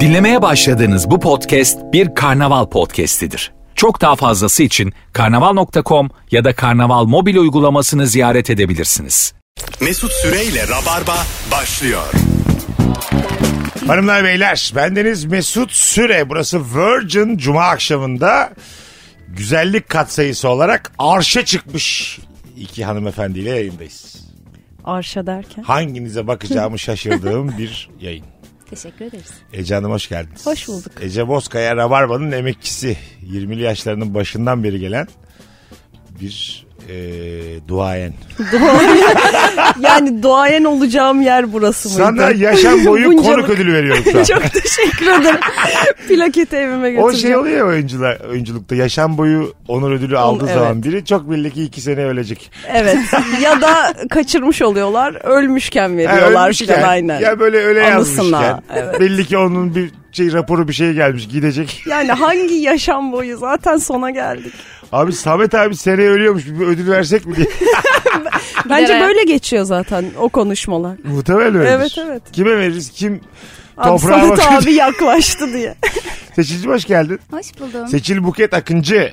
Dinlemeye başladığınız bu podcast bir karnaval podcastidir. Çok daha fazlası için karnaval.com ya da karnaval mobil uygulamasını ziyaret edebilirsiniz. Mesut Süreyle Rabarba başlıyor. Hanımlar beyler bendeniz Mesut Süre. Burası Virgin Cuma akşamında güzellik katsayısı olarak arşa çıkmış iki hanımefendiyle yayındayız. Arşa derken. Hanginize bakacağımı şaşırdığım bir yayın. Teşekkür ederiz. Ece Hanım hoş geldiniz. Hoş bulduk. Ece Bozkaya Rabarba'nın emekçisi. 20'li yaşlarının başından beri gelen bir eee duayen. Yani doğayan olacağım yer burası mıydı? Sana yaşam boyu Buncalık. konuk ödülü veriyorum şu an. Çok teşekkür ederim. Plaketi evime O şey götüreceğim. oluyor ya oyuncular, oyunculukta yaşam boyu onur ödülü aldığı evet. zaman biri çok belli ki iki sene ölecek. Evet. ya da kaçırmış oluyorlar. Ölmüşken Ha, veriyorlar ölmüşken, falan aynen. Ya böyle öyle Anısına, yazmışken. evet. Belli ki onun bir şey raporu bir şey gelmiş gidecek. Yani hangi yaşam boyu zaten sona geldik. Abi Samet abi seneye ölüyormuş bir ödül versek mi diye. Bence Gider- böyle geçiyor zaten o konuşmalar. Muhtemelen öyledir. Evet, evet. Kime veririz kim Abi toprağa Samet bakacak. abi yaklaştı diye. Seçilci hoş geldin. Hoş buldum. Seçil Buket Akıncı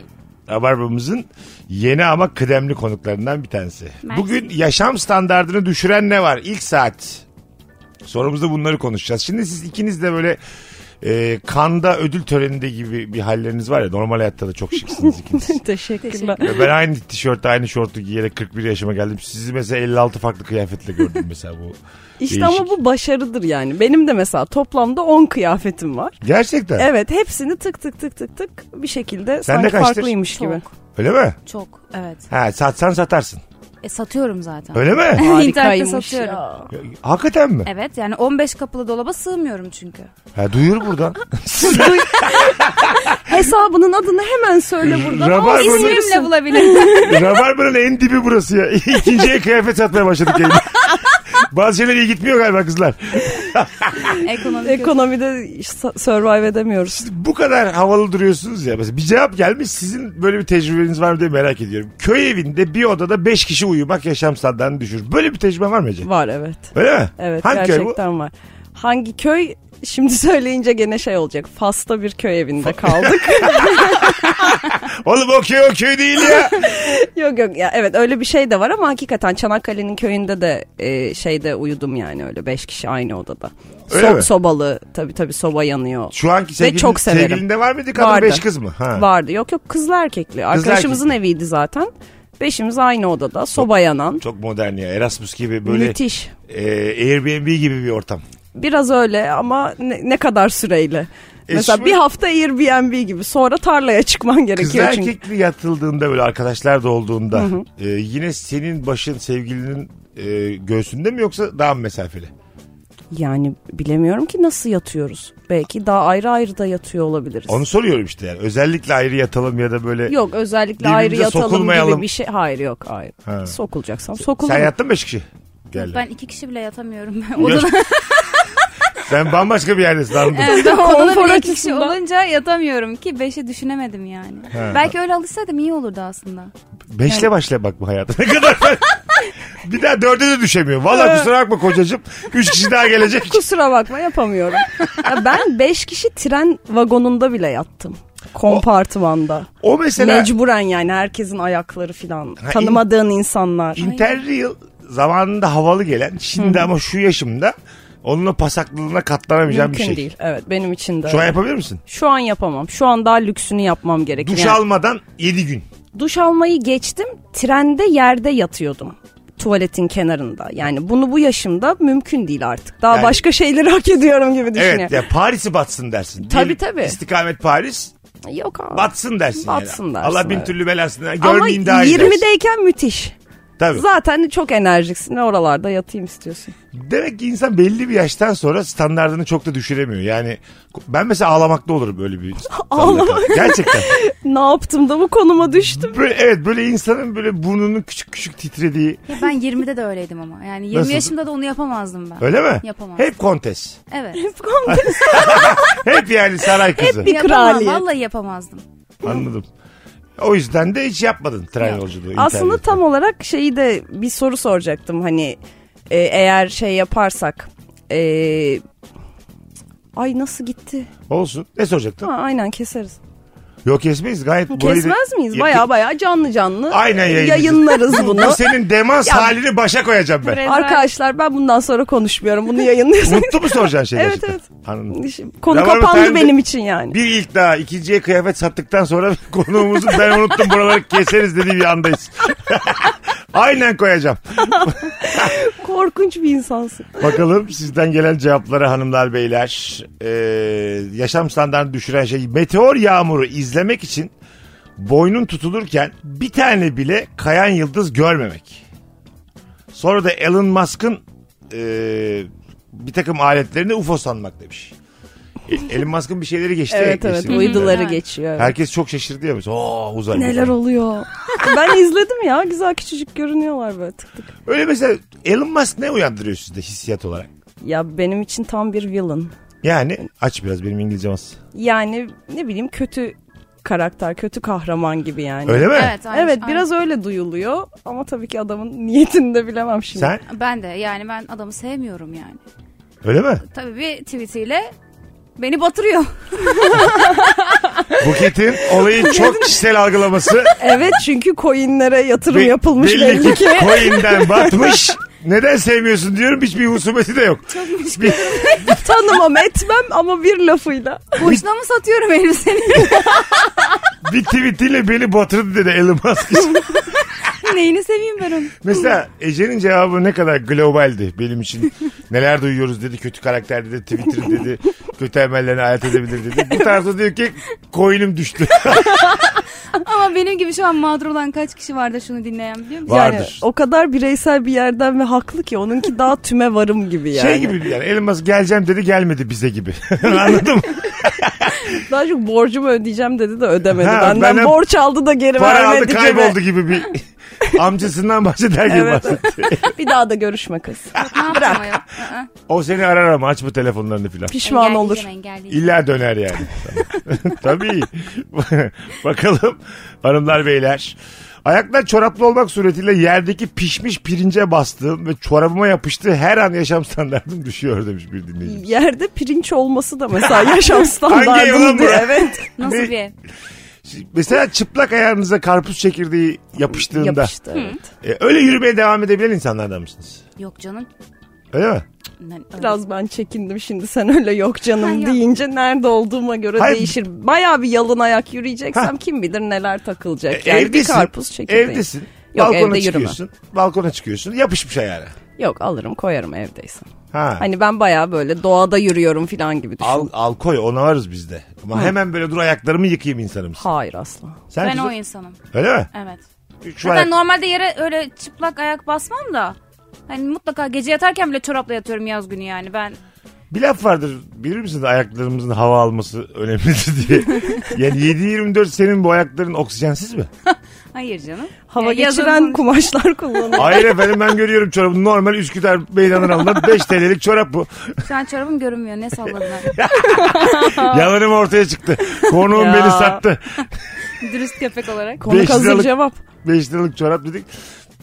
Rabarbamızın yeni ama kıdemli konuklarından bir tanesi. Mersi. Bugün yaşam standartını düşüren ne var? İlk saat. Sorumuzda bunları konuşacağız. Şimdi siz ikiniz de böyle e, kanda ödül töreninde gibi bir halleriniz var ya. Normal hayatta da çok şıksınız ikiniz. Teşekkürler. Teşekkür. ben aynı tişört aynı şortu giyerek 41 yaşıma geldim. Sizi mesela 56 farklı kıyafetle gördüm mesela bu. İşte Değişik. ama bu başarıdır yani. Benim de mesela toplamda 10 kıyafetim var. Gerçekten. Evet hepsini tık tık tık tık tık bir Sende şekilde sanki kaçtır? farklıymış Çok. gibi. Öyle mi? Çok evet. Ha satsan satarsın. E, satıyorum zaten. Öyle mi? İnternette Harikaymış satıyorum. ya. Hakikaten mi? Evet yani 15 kapılı dolaba sığmıyorum çünkü. Ha, duyur buradan. Hesabının adını hemen söyle buradan. Rabarbanın- Aa, ismini İsmimle bilirsin. bulabilirim. Rabarbanın en dibi burası ya. İkinciye kıyafet satmaya başladık yayında. Bazı şeyler iyi gitmiyor galiba kızlar. Ekonomik. Ekonomide iş- survive edemiyoruz. Bu kadar havalı duruyorsunuz ya. Mesela bir cevap gelmiş sizin böyle bir tecrübeniz var mı diye merak ediyorum. Köy evinde bir odada 5 kişi uyumak yaşam standartını düşürür. Böyle bir tecrübe var mı Ece? Var evet. Öyle mi? Evet Hangi köy bu? gerçekten var. Hangi köy? Şimdi söyleyince gene şey olacak. Fas'ta bir köy evinde kaldık. Oğlum o köy o köy değil ya. yok yok ya evet öyle bir şey de var ama hakikaten Çanakkale'nin köyünde de e, şeyde uyudum yani öyle beş kişi aynı odada. Öyle So- mi? sobalı tabii tabii soba yanıyor. Şu anki sevgilin, Ve çok severim. sevgilinde var mıydı kadın Vardı. 5 kız mı? Ha. Vardı yok yok kızlı erkekli. Arkadaşımızın eviydi zaten. Beşimiz aynı odada soba yanan. Çok modern ya. Erasmus gibi böyle Müthiş. e, Airbnb gibi bir ortam. Biraz öyle ama ne, ne kadar süreyle? E Mesela şu- bir hafta Airbnb gibi sonra tarlaya çıkman Kız gerekiyor çünkü. erkekli yatıldığında böyle arkadaşlar da olduğunda e, yine senin başın sevgilinin e, göğsünde mi yoksa daha mı mesafeli? Yani bilemiyorum ki nasıl yatıyoruz. Belki daha ayrı ayrı da yatıyor olabiliriz. Onu soruyorum işte yani. Özellikle ayrı yatalım ya da böyle. Yok özellikle Birbirimize ayrı yatalım sokulmayalım. gibi bir şey. Hayır yok hayır. Ha. Sokulacaksan sokulur. Sen yattın mı kişi? Gel. Ben iki kişi bile yatamıyorum. Yok. Odada, Sen bambaşka bir yerdesin anladım. evet, ben odada Konfor bile iki kişi açısından. olunca yatamıyorum ki beşi düşünemedim yani. Belki öyle alışsaydım iyi olurdu aslında. Beşle başla bak bu hayata. Ne kadar bir daha dörde de düşemiyor. Valla kusura bakma kocacığım. Üç kişi daha gelecek. Kusura bakma yapamıyorum. Ya ben 5 kişi tren vagonunda bile yattım. Kompartımanda. O mesela Mecburen yani herkesin ayakları filan. Ha, in- Tanımadığın insanlar. Interreal zamanında havalı gelen şimdi ama şu yaşımda onunla pasaklılığına katlanamayacağım Mümkün bir şey. değil. Evet benim için Şu de. an öyle. yapabilir misin? Şu an yapamam. Şu an daha lüksünü yapmam gerekiyor. Duş Yani almadan 7 gün. duş almayı geçtim. Trende yerde yatıyordum. Tuvaletin kenarında. Yani bunu bu yaşımda mümkün değil artık. Daha Yani- başka şeyleri hak ediyorum gibi düşünüyorum. Evet ya Paris'i batsın dersin. Tabii, Diyelim tabii. İstikamet Paris Yok abi. batsın dersin. Batsın yani. dersin, Allah bin evet. türlü belasını Ama görmeyeyim daha iyi dersin. 20'deyken müthiş. Tabii. Zaten çok enerjiksin ve oralarda yatayım istiyorsun. Demek ki insan belli bir yaştan sonra standartını çok da düşüremiyor. Yani ben mesela ağlamakta olurum böyle bir Ağlamak. standarta. Gerçekten. Ne yaptım da bu konuma düştüm. Böyle, evet böyle insanın böyle burnunun küçük küçük titrediği. Ya ben 20'de de öyleydim ama. Yani 20 Nasıldı? yaşımda da onu yapamazdım ben. Öyle mi? Yapamazdım. Hep kontes. Evet. Hep yani saray kızı. bir- Yapamam, kraliyet. vallahi yapamazdım. Anladım. O yüzden de hiç yapmadın tren Yok. yolculuğu. Aslında internette. tam olarak şeyi de bir soru soracaktım. Hani e, eğer şey yaparsak e, Ay nasıl gitti? Olsun. Ne soracaktın? Ha, aynen keseriz. Yok kesmeyiz gayet. burayı da- Kesmez miyiz? Ya- Baya baya canlı canlı e, Aynen yayınlayacağız. yayınlarız Bu- bunu. Bu senin demans Ya- halini başa koyacağım ben. Buraya- Arkadaşlar ben bundan sonra konuşmuyorum. Bunu yayınlıyorsunuz. Mutlu mu soracağın şey Evet, gerçekten? evet. Anladım. Konu Rabarba kapandı Time'de benim için yani. Bir ilk daha ikinciye kıyafet sattıktan sonra konuğumuzu ben unuttum buraları keseriz dediği bir andayız. Aynen koyacağım. Korkunç bir insansın. Bakalım sizden gelen cevaplara hanımlar beyler. Ee, yaşam standartını düşüren şey meteor yağmuru izlemek için boynun tutulurken bir tane bile kayan yıldız görmemek. Sonra da Elon Musk'ın ee, bir takım aletlerini UFO sanmak demiş. E, Elon Musk'ın bir şeyleri geçti. Evet evet geçti. uyduları Evet. geçiyor. Herkes çok şaşırdı ya. mesela, Oo, uzay. Neler oluyor? ben izledim ya güzel küçücük görünüyorlar böyle tık tık. Öyle mesela Elon Musk ne uyandırıyor sizde hissiyat olarak? Ya benim için tam bir villain. Yani aç biraz benim İngilizcem az. Yani ne bileyim kötü karakter, kötü kahraman gibi yani. Öyle mi? Evet, aynı- şey. Evet aynı- biraz öyle duyuluyor ama tabii ki adamın niyetini de bilemem şimdi. Sen Ben de yani ben adamı sevmiyorum yani. öyle mi? Tabii bir tweetiyle beni batırıyor. Buket'in olayı çok kişisel algılaması. Evet çünkü coinlere yatırım Be- yapılmış belli, ki. Coin'den batmış. Neden sevmiyorsun diyorum hiçbir husumeti de yok. Bir- Tanımam etmem ama bir lafıyla. Boşuna mı satıyorum elbiseni? bir tweetiyle beni batırdı dedi Elon Musk. Neyini seveyim ben onu? Mesela Ece'nin cevabı ne kadar globaldi benim için. Neler duyuyoruz dedi kötü karakter dedi Twitter dedi. Kötü emellerini hayat edebilir dedi. Bu tarzda diyor ki coin'im düştü. Ama benim gibi şu an mağdur olan kaç kişi var da şunu dinleyen biliyor musun? Yani Vardır. o kadar bireysel bir yerden ve haklı ki onunki daha tüme varım gibi yani. Şey gibi yani Elon Musk geleceğim dedi gelmedi bize gibi. Anladın mı? Daha çok borcumu ödeyeceğim dedi de ödemedi. Ha, Benden benden borç aldı da geri Para aldı vermedi kayboldu gibi. gibi bir amcasından bahseder gibi Evet. bahsetti. Bir daha da görüşme kız. Ne yapacağım ayol? Aa, O seni arar ama açma telefonlarını filan. Pişman olur. engelleyeceğim, engelleyeceğim. İlla döner yani. Tabii. Bakalım hanımlar beyler. Ayaklar çoraplı olmak suretiyle yerdeki pişmiş pirince bastığım ve çorabıma yapıştığı her an yaşam standartım düşüyor demiş bir dinleyici. Yerde pirinç olması da mesela yaşam Hangi ev lan standartım bu? diye. Evet. Nasıl Ne- bir ev? Mesela çıplak ayağınıza karpuz çekirdeği yapıştığında Yapıştı. evet. e, öyle yürümeye devam edebilen insanlardan mısınız? Yok canım. Öyle mi? Lan, öyle. Biraz ben çekindim şimdi sen öyle yok Ha, canım yok. deyince nerede olduğuma göre Hayır. değişir. Bayağı bir yalın ayak yürüyeceksem kim bilir neler takılacak. E, Yani bir karpuz çekirdeği. Evdesin. Yok, balkona evde yürüme. çıkıyorsun. Balkona çıkıyorsun. Yapışmış ayağına. Yok alırım koyarım evdeysem. Ha. Hani ben bayağı böyle doğada yürüyorum falan gibi düşün. Al, al koy ona varız biz de. Ama hemen böyle dur ayaklarımı yıkayayım insanımız. Hayır asla. Sen Ben kızım- o insanım. Öyle mi? Evet. Şu Zaten ayak- normalde yere öyle çıplak ayak basmam da. Hani mutlaka gece yatarken bile çorapla yatıyorum yaz günü yani. Ben bir laf vardır bilir misin ayaklarımızın hava alması önemlidir diye. yani 7-24 senin bu ayakların oksijensiz mi? hayır canım. Hava Ya yazın- geçiren kumaşlar kullanıyor. Hayır efendim ben görüyorum çorabını normal Üsküdar meydanın alınan 5 TL'lik çorap bu. Şu an çorabım görünmüyor. Ne salladılar. Yalanım ortaya çıktı. Konuğum Ya. beni sattı. Dürüst köpek olarak. Konu Beş hazır liralık- cevap. 5 liralık çorap dedik.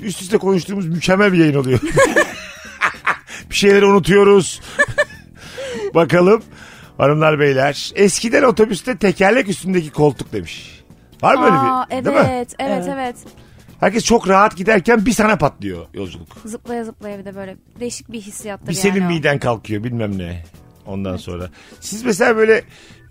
Üst üste konuştuğumuz mükemmel bir yayın oluyor. bir şeyleri unutuyoruz. Bakalım hanımlar beyler. Eskiden otobüste tekerlek üstündeki koltuk demiş. Var mı öyle Aa, bir? evet, Değil mi? evet, evet, Herkes çok rahat giderken bir sana patlıyor yolculuk. Zıplaya zıplaya bir de böyle değişik bir hissiyattır Bir yani. senin o. miden kalkıyor bilmem ne. Ondan sonra. Siz mesela böyle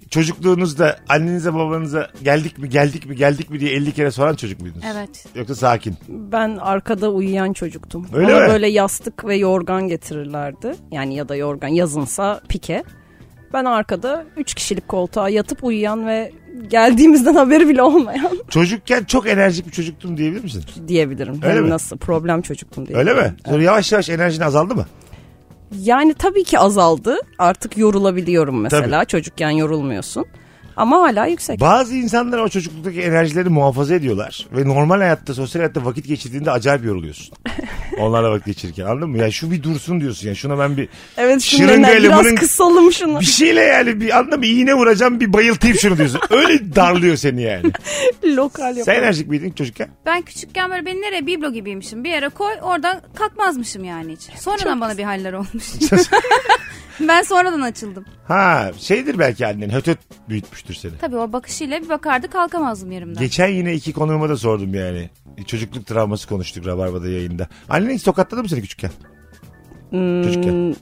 çocukluğunuzda annenize babanıza geldik mi geldik mi geldik mi diye 50 kere soran çocuk muydunuz? Evet. Yoksa sakin. Ben arkada uyuyan çocuktum. Öyle Bana mi? böyle yastık ve yorgan getirirlerdi. Yani ya da yorgan yazınsa pike. Ben arkada 3 kişilik koltuğa yatıp uyuyan ve geldiğimizden haberi bile olmayan Çocukken çok enerjik bir çocuktum diyebilir misin? diyebilirim. Öyle Hem mi? Hani Nasıl problem çocuktum diye. Öyle mi? Sonra yavaş yavaş enerjin azaldı mı? Yani tabii ki azaldı. Artık yorulabiliyorum mesela. Çocukken yorulmuyorsun. Ama hala yüksek. Bazı insanlar o çocukluktaki enerjileri muhafaza ediyorlar. Ve normal hayatta, sosyal hayatta vakit geçirdiğinde acayip yoruluyorsun. Onlarla vakit geçirirken anladın mı? Ya şu bir dursun diyorsun ya. Şuna ben bir evet şırıngayla şunları biraz bunun- kısalım şunu. bir şeyle yani bir anladın mı? İğne vuracağım bir bayıltayım şunu diyorsun. Öyle darlıyor seni yani. Lokal Sen yapalım. enerjik miydin çocukken? Ben küçükken böyle beni nereye biblo gibiymişim. Bir yere koy oradan kalkmazmışım yani hiç. Sonradan bana bir haller olmuş. ben sonradan açıldım. Ha şeydir belki annen hötöt büyütmüştür seni. Tabii o bakışıyla bir bakardı kalkamazdım yerimden. Geçen yine iki konuğuma da sordum yani. E, Çocukluk travması konuştuk Rabarba'da yayında. Annen hiç tokatladı mı seni küçükken? Hmm. Çocukken.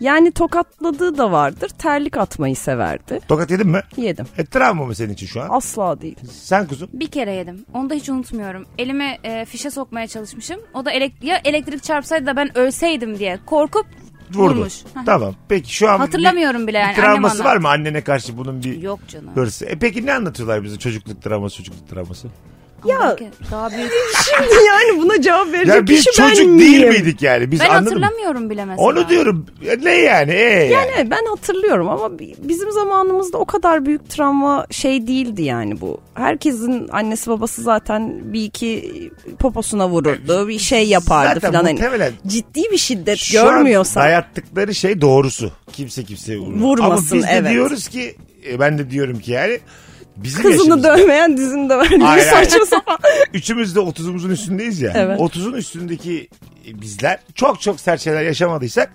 Yani tokatladığı da vardır. Terlik atmayı severdi. Tokat yedin mi? Yedim. E travma mı senin için şu an? Asla değil. Sen kuzum. Bir kere yedim. Onu da hiç unutmuyorum. Elime e, fişe sokmaya çalışmışım. O da elek- ya elektrik çarpsaydı da ben ölseydim diye korkup Vurdu. vurmuş. Heh. Tamam. Peki şu an Hatırlamıyorum bile bir, yani. bir travması annem var anlattı. mı annene karşı bunun bir Yok canım. hırsı? E peki ne anlatıyorlar bize çocukluk travması, çocukluk travması? Ya- Peki, Daha büyük. Şimdi yani buna cevap verecek Ya biz kişi ben çocuk değil miyim? miydik yani? Biz Ben anladın mı? hatırlamıyorum bile mesela. Onu diyorum. Ya Ne yani? E yani. Yani ben hatırlıyorum ama bi- bizim zamanımızda o kadar büyük travma şey değildi yani bu. Herkesin annesi babası zaten bir iki poposuna vururdu, bir şey yapardı Zaten falan. Hani muhtemelen- ciddi bir şiddet Şu an görmüyorsan. dayattıkları şey doğrusu. Kimse kimseye vurmasın. Vurmasın, Ama biz de evet. diyoruz ki e, ben de diyorum ki yani bizim Kızını yaşımızda- dövmeyen dizini döver gibi Hayır, hayır. saçma sapan. Üçümüz de 30'umuzun üstündeyiz ya. Evet. 30'un üstündeki e, bizler çok çok sert şeyler yaşamadıysak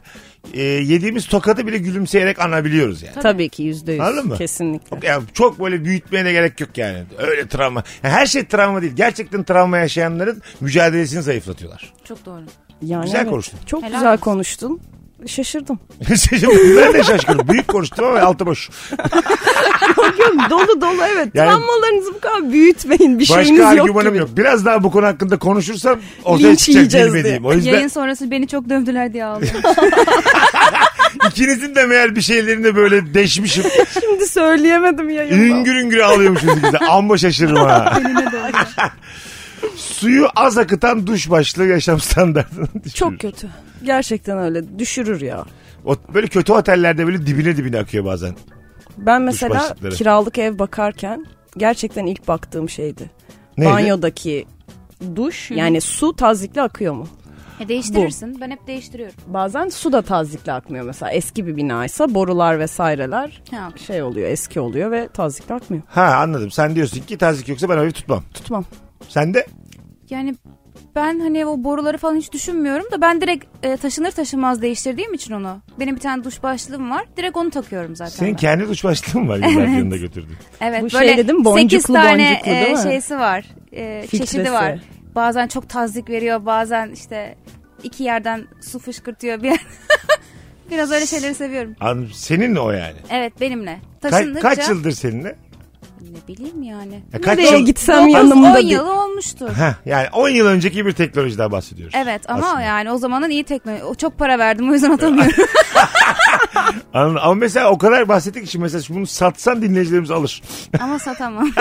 e, yediğimiz tokadı bile gülümseyerek anabiliyoruz yani. Tabii ki yüzde yüz. Anladın mı? Kesinlikle. Ya çok böyle büyütmeye de gerek yok yani. Öyle travma. Ya Her şey travma değil. Gerçekten travma yaşayanların mücadelesini zayıflatıyorlar. Çok doğru. Yani Güzel konuştun. Çok Helal güzel olsun. konuştun. Şaşırdım. Şimdi ben de şaşkınım. Büyük konuştum ama altı boş. Yok, dolu dolu evet. Yani- Travmalarınızı bu kadar büyütmeyin. Bir şeyiniz Başka yok argümanım gibi. yok. Biraz daha bu konu hakkında konuşursam ortaya Linç çıkacak yiyeceğiz bilmediğim. diye. O yüzden Yayın sonrası beni çok dövdüler diye aldım. ikinizin de meğer bir şeylerinde böyle deşmişim. Şimdi söyleyemedim yayında. Üngür üngür ağlıyormuşuz ikimiz de. Amma şaşırırım ha. Suyu az akıtan duş başlığı yaşam standartını düşürür. Çok kötü. Gerçekten öyle. Düşürür ya. O, böyle kötü otellerde böyle dibine dibine akıyor bazen. Ben mesela başlıkları. kiralık ev bakarken gerçekten ilk baktığım şeydi. Neydi? Banyodaki duş yani su tazikli akıyor mu? E, değiştirirsin. Ben hep değiştiriyorum. Bazen su da tazikli akmıyor mesela. Eski bir binaysa borular vesaireler Ha. şey oluyor, eski oluyor ve tazikli akmıyor. Ha anladım. Sen diyorsun ki tazik yoksa ben öyle tutmam. Tutmam. Sen de Yani ben hani o boruları falan hiç düşünmüyorum da ben direkt e, taşınır taşınmaz değiştirdiğim için onu. Benim bir tane duş başlığım var. Direkt onu takıyorum zaten. senin ben. kendi duş başlığın var. Yıllar yanında götürdün. Evet Bu şey böyle dedim, boncuklu 8 tane boncuklu değil e, mi? şeysi var. e, Filtresi. çeşidi var. Bazen çok tazlik veriyor. Bazen işte iki yerden su fışkırtıyor bir yer. Biraz öyle şeyleri seviyorum. Anladım. Senin o yani. Evet benimle. Ka- Taşındıkça kaç yıldır seninle? ne bileyim yani. Ya kaç Nereye yıl? gitsem 9-10 yanımda değil. yılı olmuştur. Heh, yani 10 yıl önceki bir teknolojiden bahsediyoruz. Evet ama Aslında. yani o zamanın iyi teknoloji. O Çok para verdim o yüzden atamıyorum. Anladım. Ama mesela o kadar bahsettik ki şimdi mesela şimdi bunu satsan dinleyicilerimiz alır. ama satamam.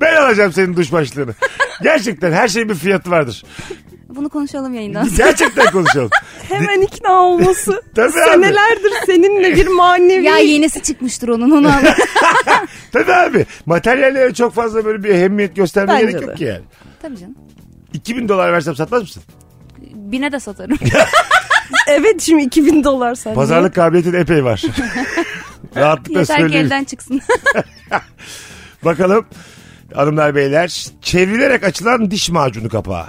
Ben alacağım senin duş başlığını. Gerçekten her şeyin bir fiyatı vardır. Bunu konuşalım yayında. Gerçekten konuşalım. Hemen ikna olması. Tabii abi. Senelerdir seninle bir manevi. ya yenisi çıkmıştır onun onu al. Tabii abi. Materyallere çok fazla böyle bir ehemmiyet göstermeye Bence gerek de. yok ki yani. Tabii canım. 2000 dolar versem satmaz mısın? Bine de satarım. Evet şimdi 2000 dolar sende. Pazarlık kabiliyetin epey var. Rahatlıkla Yeter ki söyleyeyim. elden çıksın. Bakalım hanımlar beyler. Çevrilerek açılan diş macunu kapağı.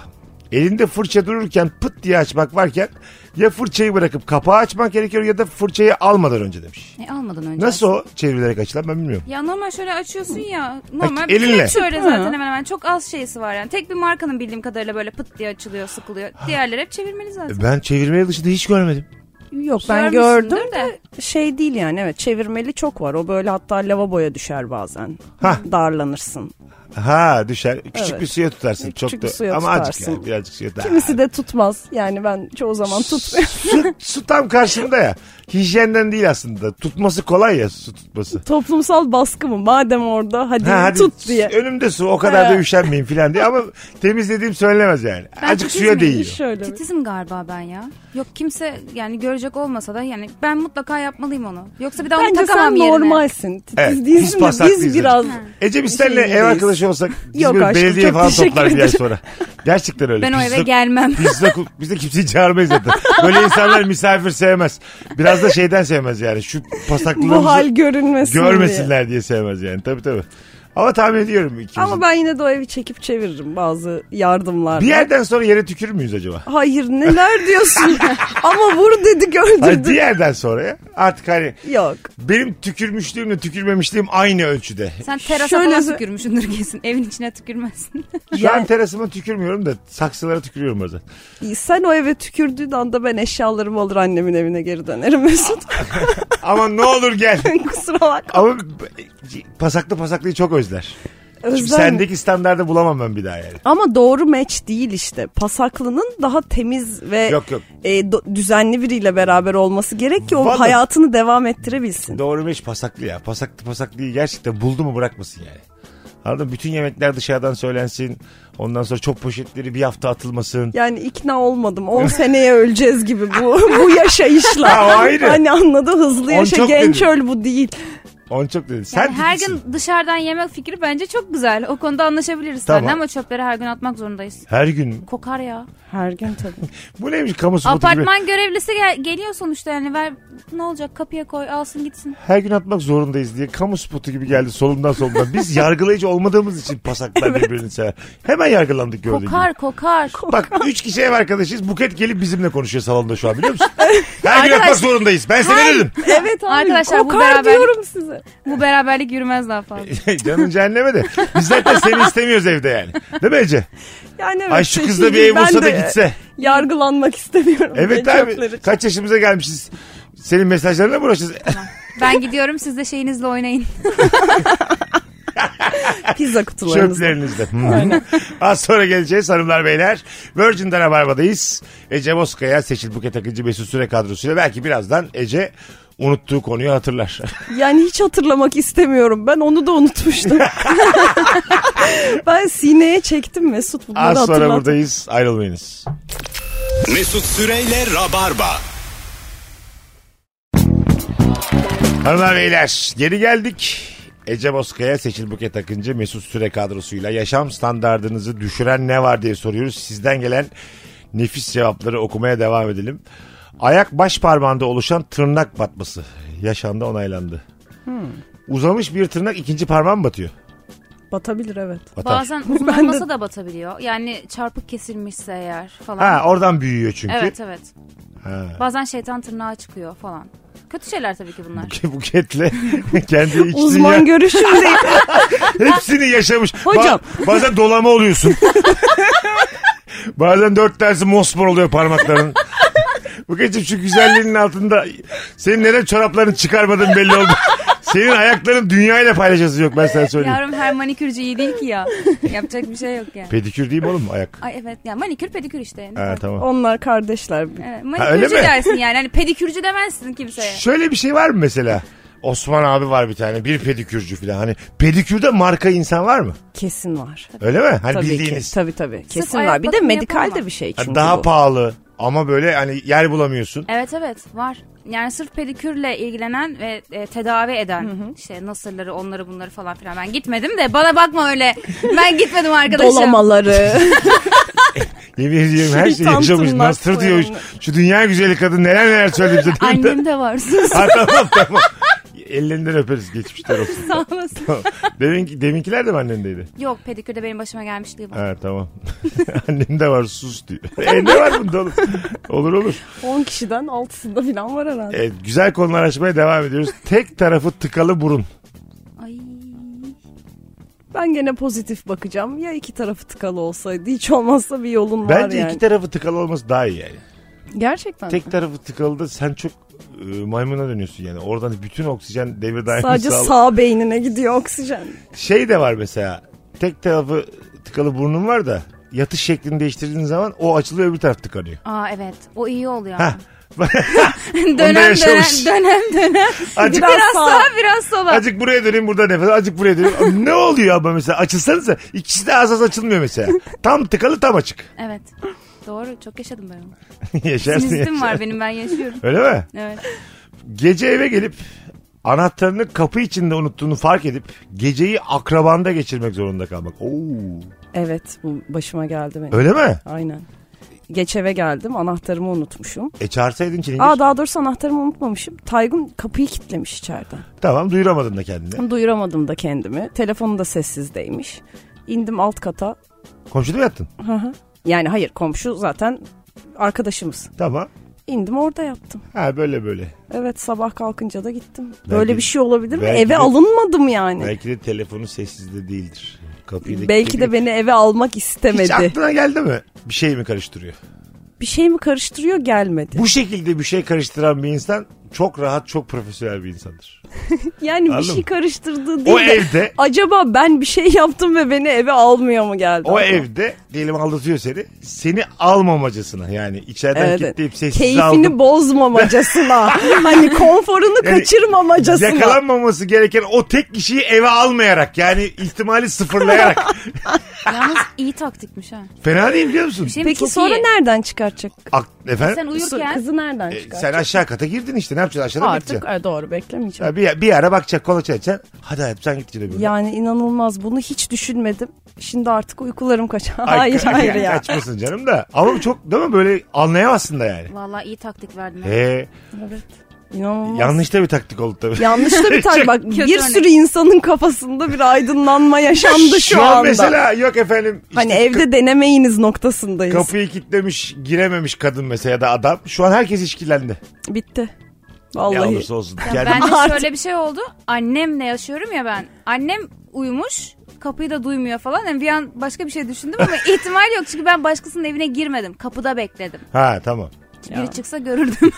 Elinde fırça dururken pıt diye açmak varken ya fırçayı bırakıp kapağı açmak gerekiyor ya da fırçayı almadan önce demiş. E, almadan önce. Nasıl o çevrilerek açılan ben bilmiyorum. Ya normal şöyle açıyorsun ya. Normal Bak, elinle. bir şöyle zaten Ha. hemen hemen. Çok az şeysi var yani. Tek bir markanın bildiğim kadarıyla böyle pıt diye açılıyor, sıkılıyor. Diğerleri hep çevirmeli zaten. Ben çevirmeye dışında hiç görmedim. Yok ben Görmüşsündür gördüm de. şey değil yani evet çevirmeli çok var. O böyle hatta lavaboya düşer bazen. Hah. Darlanırsın. Ha düşer. Küçük Evet. bir suya tutarsın. Küçük Çok bir da- suya ama azıcık tutarsın. yani, birazcık suya tutarsın. Kimisi de tutmaz. Yani ben çoğu zaman tutmuyorum. su, su tam karşımda ya. Hijyenden değil aslında. Tutması kolay ya su tutması. Toplumsal baskı mı? Madem orada hadi, Ha, hadi tut diye. Önümde su o kadar Ha. da üşenmeyin filan diye ama temizlediğim söylenemez yani. Ben Azıcık şey titiz suya miyim? değiyor. Şöyle bir- Titizim galiba ben ya. Yok kimse yani görecek olmasa da yani ben mutlaka yapmalıyım onu. Yoksa bir daha onu Bence takamam sen yerine. normalsin. Titiz Evet, biz değilsin de pasaklı biz izledik. biraz Ecem biz seninle ev şeyindeyiz. arkadaşı olsak biz Yok böyle aşkım, belediye çok falan teşekkür toplar bir yer ederim. sonra. Gerçekten öyle. Ben o Biz eve de- gelmem. Biz de, biz de kimseyi çağırmayız zaten. Böyle insanlar misafir sevmez. Biraz da şeyden sevmez yani. Şu bu hal pasaklılığımızı görünmesin diye. görmesinler diye sevmez yani. Tabii tabii. Ama tahmin ediyorum ikimiz. Ama ben yine de o evi çekip çeviririm bazı yardımlarla. Bir yerden sonra yere tükür müyüz acaba? Hayır neler diyorsun? Ama vur dedi Hayır, bir gördürdü. yerden sonra ya. Artık hani Yok. benim tükürmüşlüğümle tükürmemişliğim aynı ölçüde. Sen terasa Şöyle falan sö- tükürmüşsündür kesin. Evin içine tükürmezsin. Şu an Yani- terasıma tükürmüyorum da saksılara tükürüyorum bazen. Sen o eve tükürdüğün anda ben eşyalarım olur annemin evine geri dönerim Mesut. Ama ne olur gel. Kusura bakma. Ama pasaklı pasaklıyı çok özler. Şimdi Özlem- sendeki standardı bulamam ben bir daha yani. Ama doğru match değil işte. Pasaklının daha temiz ve Yok, yok. e, do- düzenli biriyle beraber olması gerek ki o Vallahi- hayatını devam ettirebilsin. Doğru meş pasaklı ya. Pasaklı pasaklıyı gerçekten buldu mu bırakmasın yani. Anladın mı? Bütün yemekler dışarıdan söylensin. Ondan sonra çok poşetleri bir hafta atılmasın. yani ikna olmadım. 10 seneye öleceğiz gibi bu bu yaşayışla. Ha, o ayrı. Hani anladı hızlı On yaşa çok genç dedi. öl bu değil. Onu çok dedi. Sen Yani her tipsin. gün dışarıdan yemek fikri bence çok güzel. O konuda anlaşabiliriz Tamam. seninle ama çöpleri her gün atmak zorundayız. Her gün. Kokar ya. Her gün tabii. Bu neymiş kamu spotu gibi. Apartman görevlisi gel- geliyor sonuçta yani. Ver, ne olacak kapıya koy alsın gitsin. Her gün atmak zorundayız diye kamu spotu gibi geldi solumdan solumdan. Biz yargılayıcı olmadığımız için pasaklar birbirini sever. Hemen yargılandık gördüğün Kokar kokar. gibi. Bak üç kişi ev arkadaşıyız. Buket gelip bizimle konuşuyor salonda şu an biliyor musun? Her gün atmak zorundayız. Ben seni dedim. evet abi, Arkadaşlar bu kokar beraberlik- diyorum size. Bu beraberlik yürümez daha fazla. Canın cehenneme de. Biz zaten seni istemiyoruz evde yani. Değil mi Ece? Yani evet, Ay şu şey kız da bir değil, ev ben bulsa da de gitse. Yargılanmak istemiyorum. Evet Ben abi. çöpleri- Kaç yaşımıza gelmişiz? Senin mesajlarına mı uğraşacağız? Ben gidiyorum siz de şeyinizle oynayın. Pizza kutularınızda. Çöplerinizde. Hmm. Az sonra geleceğiz hanımlar beyler. Virgin'den Rabarba'dayız. Ece Bozkaya, Seçil Buket Akıncı, Mesut Süre kadrosuyla belki birazdan Ece unuttuğu konuyu hatırlar. Yani hiç hatırlamak istemiyorum. Ben onu da unutmuştum. ben sineye çektim Mesut bunları Az sonra hatırlattı. buradayız. Ayrılmayınız. Mesut Süreyle Rabarba. Hanımlar beyler geri geldik. Ece Bozkaya, Seçil Buket Akıncı, Mesut Süre kadrosuyla yaşam standartınızı düşüren ne var diye soruyoruz. Sizden gelen nefis cevapları okumaya devam edelim. Ayak baş parmağında oluşan tırnak batması yaşandı onaylandı. Hmm. Uzamış bir tırnak ikinci parmağa mı batıyor? Batabilir evet. Batar. Bazen uzun Ben de- olmasa da batabiliyor. Yani çarpık kesilmişse eğer falan. Ha oradan büyüyor çünkü. evet evet. Ha. Bazen şeytan tırnağı çıkıyor falan. Kötü şeyler tabii ki bunlar. Buketle kendi içtiği Uzman ya- görüşümdeyim. Hepsini yaşamış. Ba- Hocam. bazen dolama oluyorsun. bazen dört tanesi mosmor oluyor parmakların. Bu geçim şu güzelliğinin altında senin neden çoraplarını çıkarmadın belli oldu. Senin ayakların dünyayla paylaşası yok ben sana söyleyeyim. Yavrum her manikürcü iyi değil ki ya. Yapacak bir şey yok yani. Pedikür değil mi oğlum ayak? Ay evet ya manikür pedikür işte. Ne Ha, fark- tamam. Onlar kardeşler. Evet, Ha, öyle manikürcü mi? dersin yani. Hani pedikürcü demezsin kimseye. Şöyle bir şey var mı mesela? Osman abi var bir tane bir pedikürcü falan. Hani pedikürde marka insan var mı? Kesin var. Öyle mi? Hani Tabii bildiğiniz. ki. Tabii tabii. Kesin ayak var. Bir de bakımı medikal yapamam. de bir şey Hani çünkü Daha bu. pahalı ama böyle hani yer bulamıyorsun. Evet evet var. Yani sırf pedikürle ilgilenen ve e, tedavi eden işte nasırları onları bunları falan filan. Ben gitmedim de bana bakma öyle. Ben gitmedim arkadaşım. Dolamaları. Yemin ediyorum her şeyi Şeytan yaşamış. tırnak Nasır diyor. koyanı. Şu dünya güzeli kadın neler neler söyledi bize. Annem de var. Sus. Ha, tamam tamam. Ellerinden öperiz geçmişler olsun. Sağ olasın. Tamam. Deminki, deminkiler de mi annendeydi? Yok pedikürde benim başıma gelmişliği var. Ha tamam. Annem de var sus diyor. E ne var bunda oğlum? Olur olur. 10 kişiden 6'sında falan var herhalde. E, güzel konular açmaya devam ediyoruz. Tek tarafı tıkalı burun. Ay. Ben gene pozitif bakacağım. Ya iki tarafı tıkalı olsaydı hiç olmazsa bir yolun var Bence yani. iki tarafı tıkalı olması daha iyi yani. Gerçekten. Tek tarafı tıkalı da sen çok e, maymuna dönüyorsun yani. Oradan bütün oksijen devir daim Sadece sağla- sağ beynine gidiyor oksijen. Şey de var mesela. Tek tarafı tıkalı burnum var da yatış şeklini değiştirdiğin zaman o açılıyor öbür taraf tıkanıyor. Aa evet o iyi oluyor. Hah. Onu da dönem dönem yaşamış. dönem dönem. Azıcık, Biraz sağa biraz sola. azıcık buraya döneyim burada nefes. Azıcık buraya döneyim. ne oluyor ama mesela açılsanıza ikisi de az az açılmıyor mesela. Tam tıkalı tam açık. Evet. Doğru çok yaşadım ben onu. Yaşarsın Sinizitim yaşarsın. var benim ben yaşıyorum. Öyle mi? Evet. Gece eve gelip anahtarını kapı içinde unuttuğunu fark edip geceyi akrabanda geçirmek zorunda kalmak. Oo. Evet bu başıma geldi benim. Öyle mi? Aynen. geç eve geldim. Anahtarımı unutmuşum. E çağırsaydın Çilingir. Aa daha doğrusu anahtarımı unutmamışım. Taygun kapıyı kilitlemiş içeriden. Tamam duyuramadın da kendini. Duyuramadım da kendimi. Telefonu da sessizdeymiş. İndim alt kata. Komşuda mı yattın? Yani hayır komşu zaten arkadaşımız. Tamam. İndim orada yattım. Ha böyle böyle. Evet sabah kalkınca da gittim. Belki- Böyle bir şey olabilir mi? belki Eve de- alınmadım yani. Belki, Belki de telefonu sessizde değildir. Kapıyı da de beni eve almak istemedi. Hiç aklına geldi mi? Bir şey mi karıştırıyor? Bir şey mi karıştırıyor gelmedi. Bu şekilde bir şey karıştıran bir insan çok rahat, çok profesyonel bir insandır. Yani bir Anladın mı? şey karıştırdığı değil O de, evde- acaba ben bir şey yaptım ve beni eve almıyor mu geldi? O evde diyelim aldatıyor seni. Seni almamacasına yani içeriden Evet. kilitleyip sessiz Keyfini aldım. bozmamacasına. hani konforunu Yani kaçırmamacasına. Yakalanmaması gereken o tek kişiyi eve almayarak yani ihtimali sıfırlayarak. Yalnız iyi taktikmiş ha. Fena değil biliyor musun? Bir şey mi? Peki Çok sonra iyi. nereden çıkartacak? Ak- efendim? Sen Su- uyurken Kızı nereden E, çıkartacak? sen aşağı kata girdin işte ne yapacaksın aşağıda Artık bakacaksın. e, doğru beklemeyeceğim. Ya bir, bir ara bakacak kola çekeceksin. Hadi hayatım sen git cile Yani inanılmaz bunu hiç düşünmedim. Şimdi artık uykularım kaçar. Ay, Hayır ka- hayır ya. Kaçmasın canım da. Ama bu çok değil mi böyle anlayamazsın da yani. Vallahi iyi taktik verdin. ha. Ee, İnanılmaz. yanlış da bir taktik oldu tabii. Yanlış da bir tane bak kötü bir örnek. sürü insanın kafasında bir aydınlanma yaşandı şu, an anda. mesela yok efendim işte hani evde denemeyiniz noktasındayız. kapıyı kilitlemiş girememiş kadın mesela ya da adam. Şu an herkes işkillendi. Bitti. Ne Vallahi. olursa olsun. Ya Kendim- ben de Artık- şöyle bir şey oldu. Annemle yaşıyorum ya ben. Annem uyumuş. Kapıyı da duymuyor falan. Yani bir an başka bir şey düşündüm ama ihtimal yok. Çünkü ben başkasının evine girmedim. Kapıda bekledim. Ha tamam. Biri çıksa görürdüm.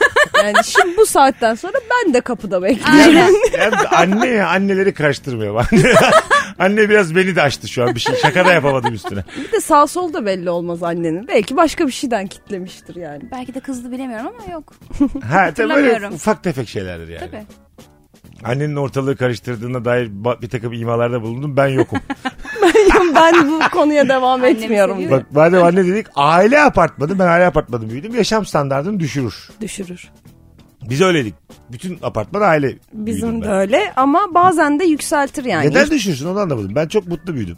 Yani şimdi bu saatten sonra ben de kapıda bekliyorum. Aynen. Ya anne ya anneleri karıştırmıyor. bak. anne biraz beni de açtı şu an bir şey. Şaka da yapamadım üstüne. Bir de sağ sol da belli olmaz annenin. Belki başka bir şeyden kitlemiştir yani. Belki de kızdı bilemiyorum ama yok. Ha tabii böyle Hatırlamıyorum. ufak tefek şeylerdir yani. Tabii. Annenin ortalığı karıştırdığına dair ba- bir takım imalarda bulundum. Ben yokum. ben bu konuya devam etmiyorum. seviyor. diye. Bak madem anne dedik aile apartmanı ben aile apartmanı büyüdüm. Yaşam standartını düşürür. Düşürür. Biz öyleydik. Bütün apartman aile büyüdüm Bizim de ben. öyle ama bazen de yükseltir yani. Neden düşürsün onu anlamadım. Ben çok mutlu büyüdüm.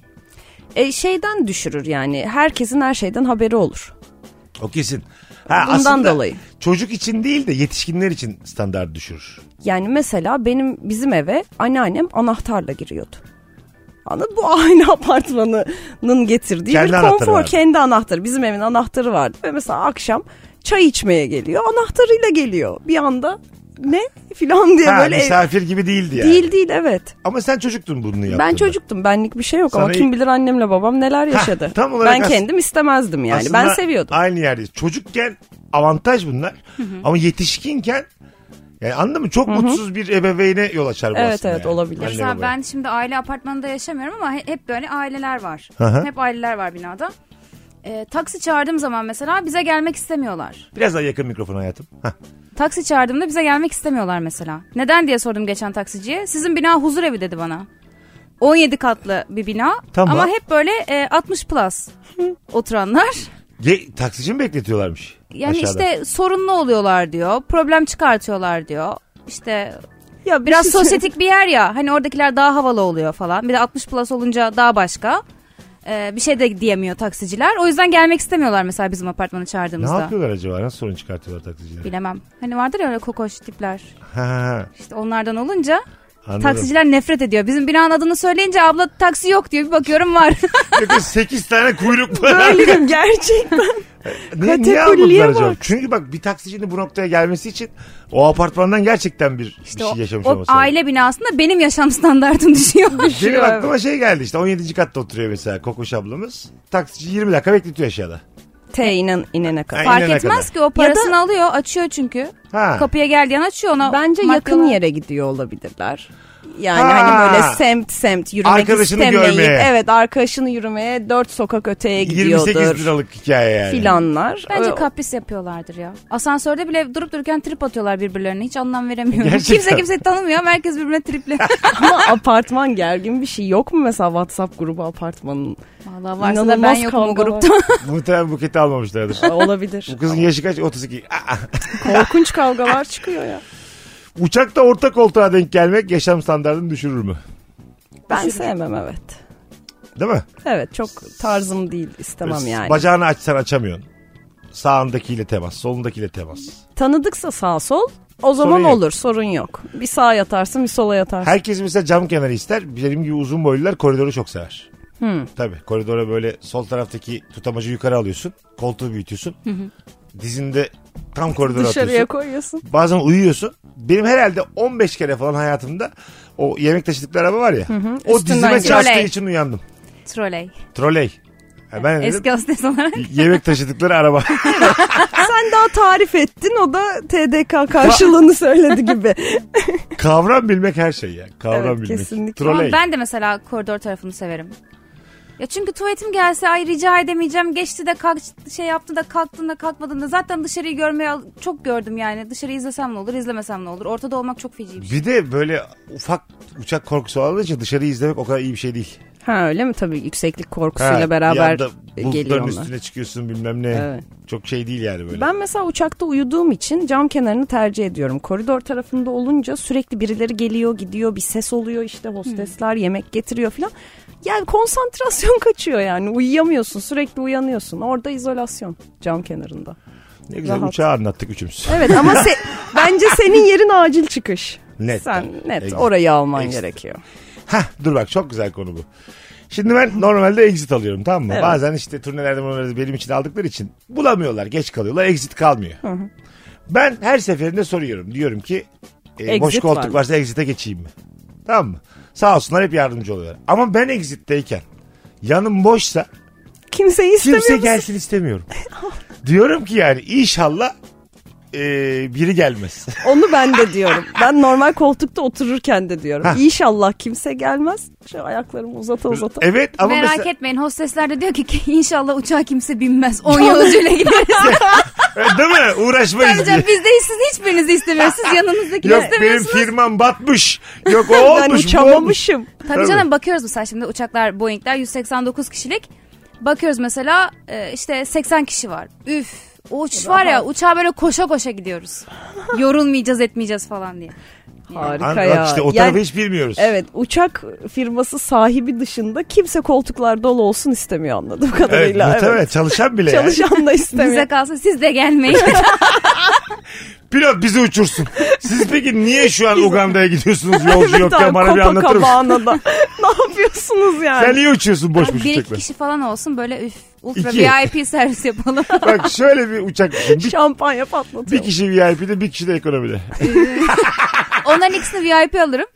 E, şeyden düşürür yani. Herkesin her şeyden haberi olur. O kesin. Ha, Bundan aslında dolayı. Çocuk için değil de yetişkinler için standart düşürür. Yani mesela benim bizim eve anneannem anahtarla giriyordu. Anladın bu aynı apartmanının getirdiği Kendi bir anahtarı konfor vardı. kendi anahtarı. Bizim evin anahtarı vardı ve mesela akşam çay içmeye geliyor anahtarıyla geliyor. Bir anda ne filan diye Ha, böyle ev- misafir gibi değildi yani. değil değil evet. Ama sen çocuktun bunu yaptığında. Ben çocuktum benlik bir şey yok ama Sana kim ilk- bilir annemle babam neler yaşadı. tam olarak ben as- kendim istemezdim yani ben Aslında seviyordum. Aynı yerdeyiz. Çocukken avantaj bunlar. Ama yetişkinken yani anladın mı? Çok mutsuz bir ebeveyne yol açar bu Evet, aslında. evet, yani. olabilir. Anne Mesela baba. ben şimdi aile apartmanında yaşamıyorum ama he- hep böyle aileler var. Hı hı. Hep aileler var binada. Ee, taksi çağırdığım zaman mesela bize gelmek istemiyorlar. Biraz daha yakın mikrofon hayatım. Hah. Taksi çağırdığımda bize gelmek istemiyorlar mesela. Neden diye sordum geçen taksiciye. Sizin bina huzur evi dedi bana. 17 katlı bir bina Tamam. ama hep böyle e, 60 plus oturanlar. Ge- taksici mi bekletiyorlarmış? Yani aşağıda? işte sorunlu oluyorlar diyor. Problem çıkartıyorlar diyor. İşte Ya şey biraz sosyetik bir yer ya. Hani oradakiler daha havalı oluyor falan. Bir de 60 plus olunca daha başka. Ee, bir şey de diyemiyor taksiciler. O yüzden gelmek istemiyorlar mesela bizim apartmanı Ne çağırdığımızda. yapıyorlar acaba? Nasıl sorun çıkartıyorlar taksiciler? Bilemem. Hani vardır ya öyle kokoş tipler. Ha, ha, İşte onlardan olunca anladım. taksiciler nefret ediyor. Bizim binanın adını söyleyince abla taksi yok diyor. Bir bakıyorum var. şey Çünkü 8 tane kuyruk var. Böyleyim gerçekten. ne, niye kategoriye almadılar acaba? bak. Çünkü bak bir taksicinin bu noktaya gelmesi için o apartmandan gerçekten bir, bir şey yaşamış o, o olması lazım. aile binasında benim yaşam standartım düşüyor. Benim aklıma şey geldi işte 17. katta oturuyor mesela Kokoş ablamız. Taksici 20 dakika bekletiyor aşağıda. T inen, inene kadar. Ay, Fark inene etmez kadar. ki o parasını alıyor. Açıyor çünkü. Ha. Kapıya geldiği an açıyor ona. Bence yakın markalar- yere gidiyor olabilirler. Yani Ha. hani böyle semt semt yürümek Arkadaşını istemeyip görmeye. evet arkadaşını yürümeye dört sokak öteye gidiyordur 28 liralık hikaye yani. filanlar. Bence Ee, kapris yapıyorlardır ya. Asansörde bile durup dururken trip atıyorlar birbirlerine. Hiç anlam veremiyorum. Gerçekten. Kimse kimseyi tanımıyor ama herkes birbirine tripli. ama apartman gergin bir şey yok mu mesela WhatsApp grubu apartmanın? Vallahi varsa da ben İnanılmaz yokum o kavgalar. grupta. Muhtemelen buketi almamışlardır. Ee, Olabilir. Bu kızın yaşı kaç? 32. Aa, Korkunç kavgalar çıkıyor ya. uçakta orta koltuğa denk gelmek yaşam standartını düşürür mü? Ben sevmem evet. Değil mi? Evet çok tarzım değil Böyle istemem yani. Bacağını açsan açamıyorsun. Sağındakiyle temas, solundakiyle temas. Tanıdıksa sağ sol o zaman yok. olur sorun yok. Bir sağa yatarsın bir sola yatarsın. Herkes mesela cam kenarı ister. Benim gibi uzun boylular koridoru çok sever. Hmm. Tabii koridora böyle sol taraftaki tutamacı yukarı alıyorsun. Koltuğu büyütüyorsun. Dizinde tam koridora Dışarıya atıyorsun. koyuyorsun. Bazen uyuyorsun. Benim herhalde 15 kere falan hayatımda o yemek taşıdıkları araba var ya. O Üstünden dizime geçiyor. çarptığı Troley. için uyandım. Troley. Troley. Ha, ben dedim, Eski hostes olarak. yemek taşıdıkları araba. Sen daha tarif ettin o da TDK karşılığını söyledi gibi. Kavram bilmek her şey ya. Kavram Evet, bilmek. kesinlikle. Ama Troley. ben de mesela koridor tarafını severim. Ya çünkü tuvaletim gelse ay rica edemeyeceğim. Geçti de kalk şey yaptı da kalktın da kalkmadın da zaten dışarıyı görmeye al- çok gördüm yani. Dışarıyı izlesem ne olur, izlemesem ne olur. Ortada olmak çok feci bir şey. Bir de böyle ufak uçak korkusu olduğu için dışarıyı izlemek o kadar iyi bir şey değil. Ha öyle mi tabii yükseklik Ha, korkusuyla bir beraber anda geliyor bulutların onlar. üstüne çıkıyorsun bilmem ne. Evet. Çok şey değil yani böyle. Ben mesela uçakta uyuduğum için cam kenarını tercih ediyorum. Koridor tarafında olunca sürekli birileri geliyor gidiyor bir ses oluyor işte hostesler yemek getiriyor falan. Yani konsantrasyon kaçıyor yani uyuyamıyorsun sürekli uyanıyorsun orada izolasyon cam kenarında. ne güzel rahat. uçağı anlattık üçümüz. Evet ama se- bence senin yerin acil çıkış. Net. Sen net Exit. orayı alman Exit. gerekiyor. Hah dur bak çok güzel konu bu. Şimdi ben normalde exit alıyorum tamam mı? Evet. Bazen işte turnelerde turnelerde benim için aldıkları için bulamıyorlar geç kalıyorlar exit kalmıyor. Ben her seferinde soruyorum diyorum ki e, Exit boş koltuk var mı? varsa exit'e geçeyim mi? Tamam mı? Sağ olsunlar hep yardımcı oluyorlar. Ama ben exit'teyken yanım boşsa Kimseyi istemiyor kimse musun? gelsin istemiyorum. diyorum ki yani inşallah e, biri gelmez. Onu ben de diyorum. Ben normal koltukta otururken de diyorum. Hah. İnşallah kimse gelmez. Şöyle ayaklarımı uzata uzata. evet ama Merak mesela etmeyin hostesler de diyor ki "Ki inşallah uçağa kimse binmez. 10 yolcuyla gideriz. değil mi? Uğraşmayız diye. Ayrıca biz de siz hiçbirinizi istemiyoruz. Siz yanınızdakini Yok benim istemiyorsunuz. firmam batmış. Yok o olmuş. ben bu olmuş. uçamamışım. Tabii Tabii. canım bakıyoruz mesela şimdi uçaklar Boeing'ler 189 kişilik. Bakıyoruz mesela e, işte 80 kişi var. Üf o uçuş var ya uçağa böyle koşa koşa gidiyoruz. Yorulmayacağız etmeyeceğiz falan diye. An- Harika bak ya. işte o tarafı Yani- hiç bilmiyoruz. Evet uçak firması sahibi dışında kimse koltuklar dolu olsun istemiyor anladığım Evet, kadarıyla. muhtemelen çalışan bile yani. Çalışan da Bize istemiyor. kalsın siz de gelmeyin. Pilot bizi uçursun. Siz peki niye şu an Uganda'ya gidiyorsunuz yolcu yok ya Abi, bana bir anlatır mısın? Copacabana'da. ne yapıyorsunuz yani? Sen niye uçuyorsun boş boş bir iki uçakla? kişi falan olsun böyle üf ultra İki. VIP servis yapalım. Bak şöyle bir uçak düşün. Bir, Şampanya bir patlatıyor. kişi VIP'de bir kişi de ekonomide. Onların ikisini VIP alırım.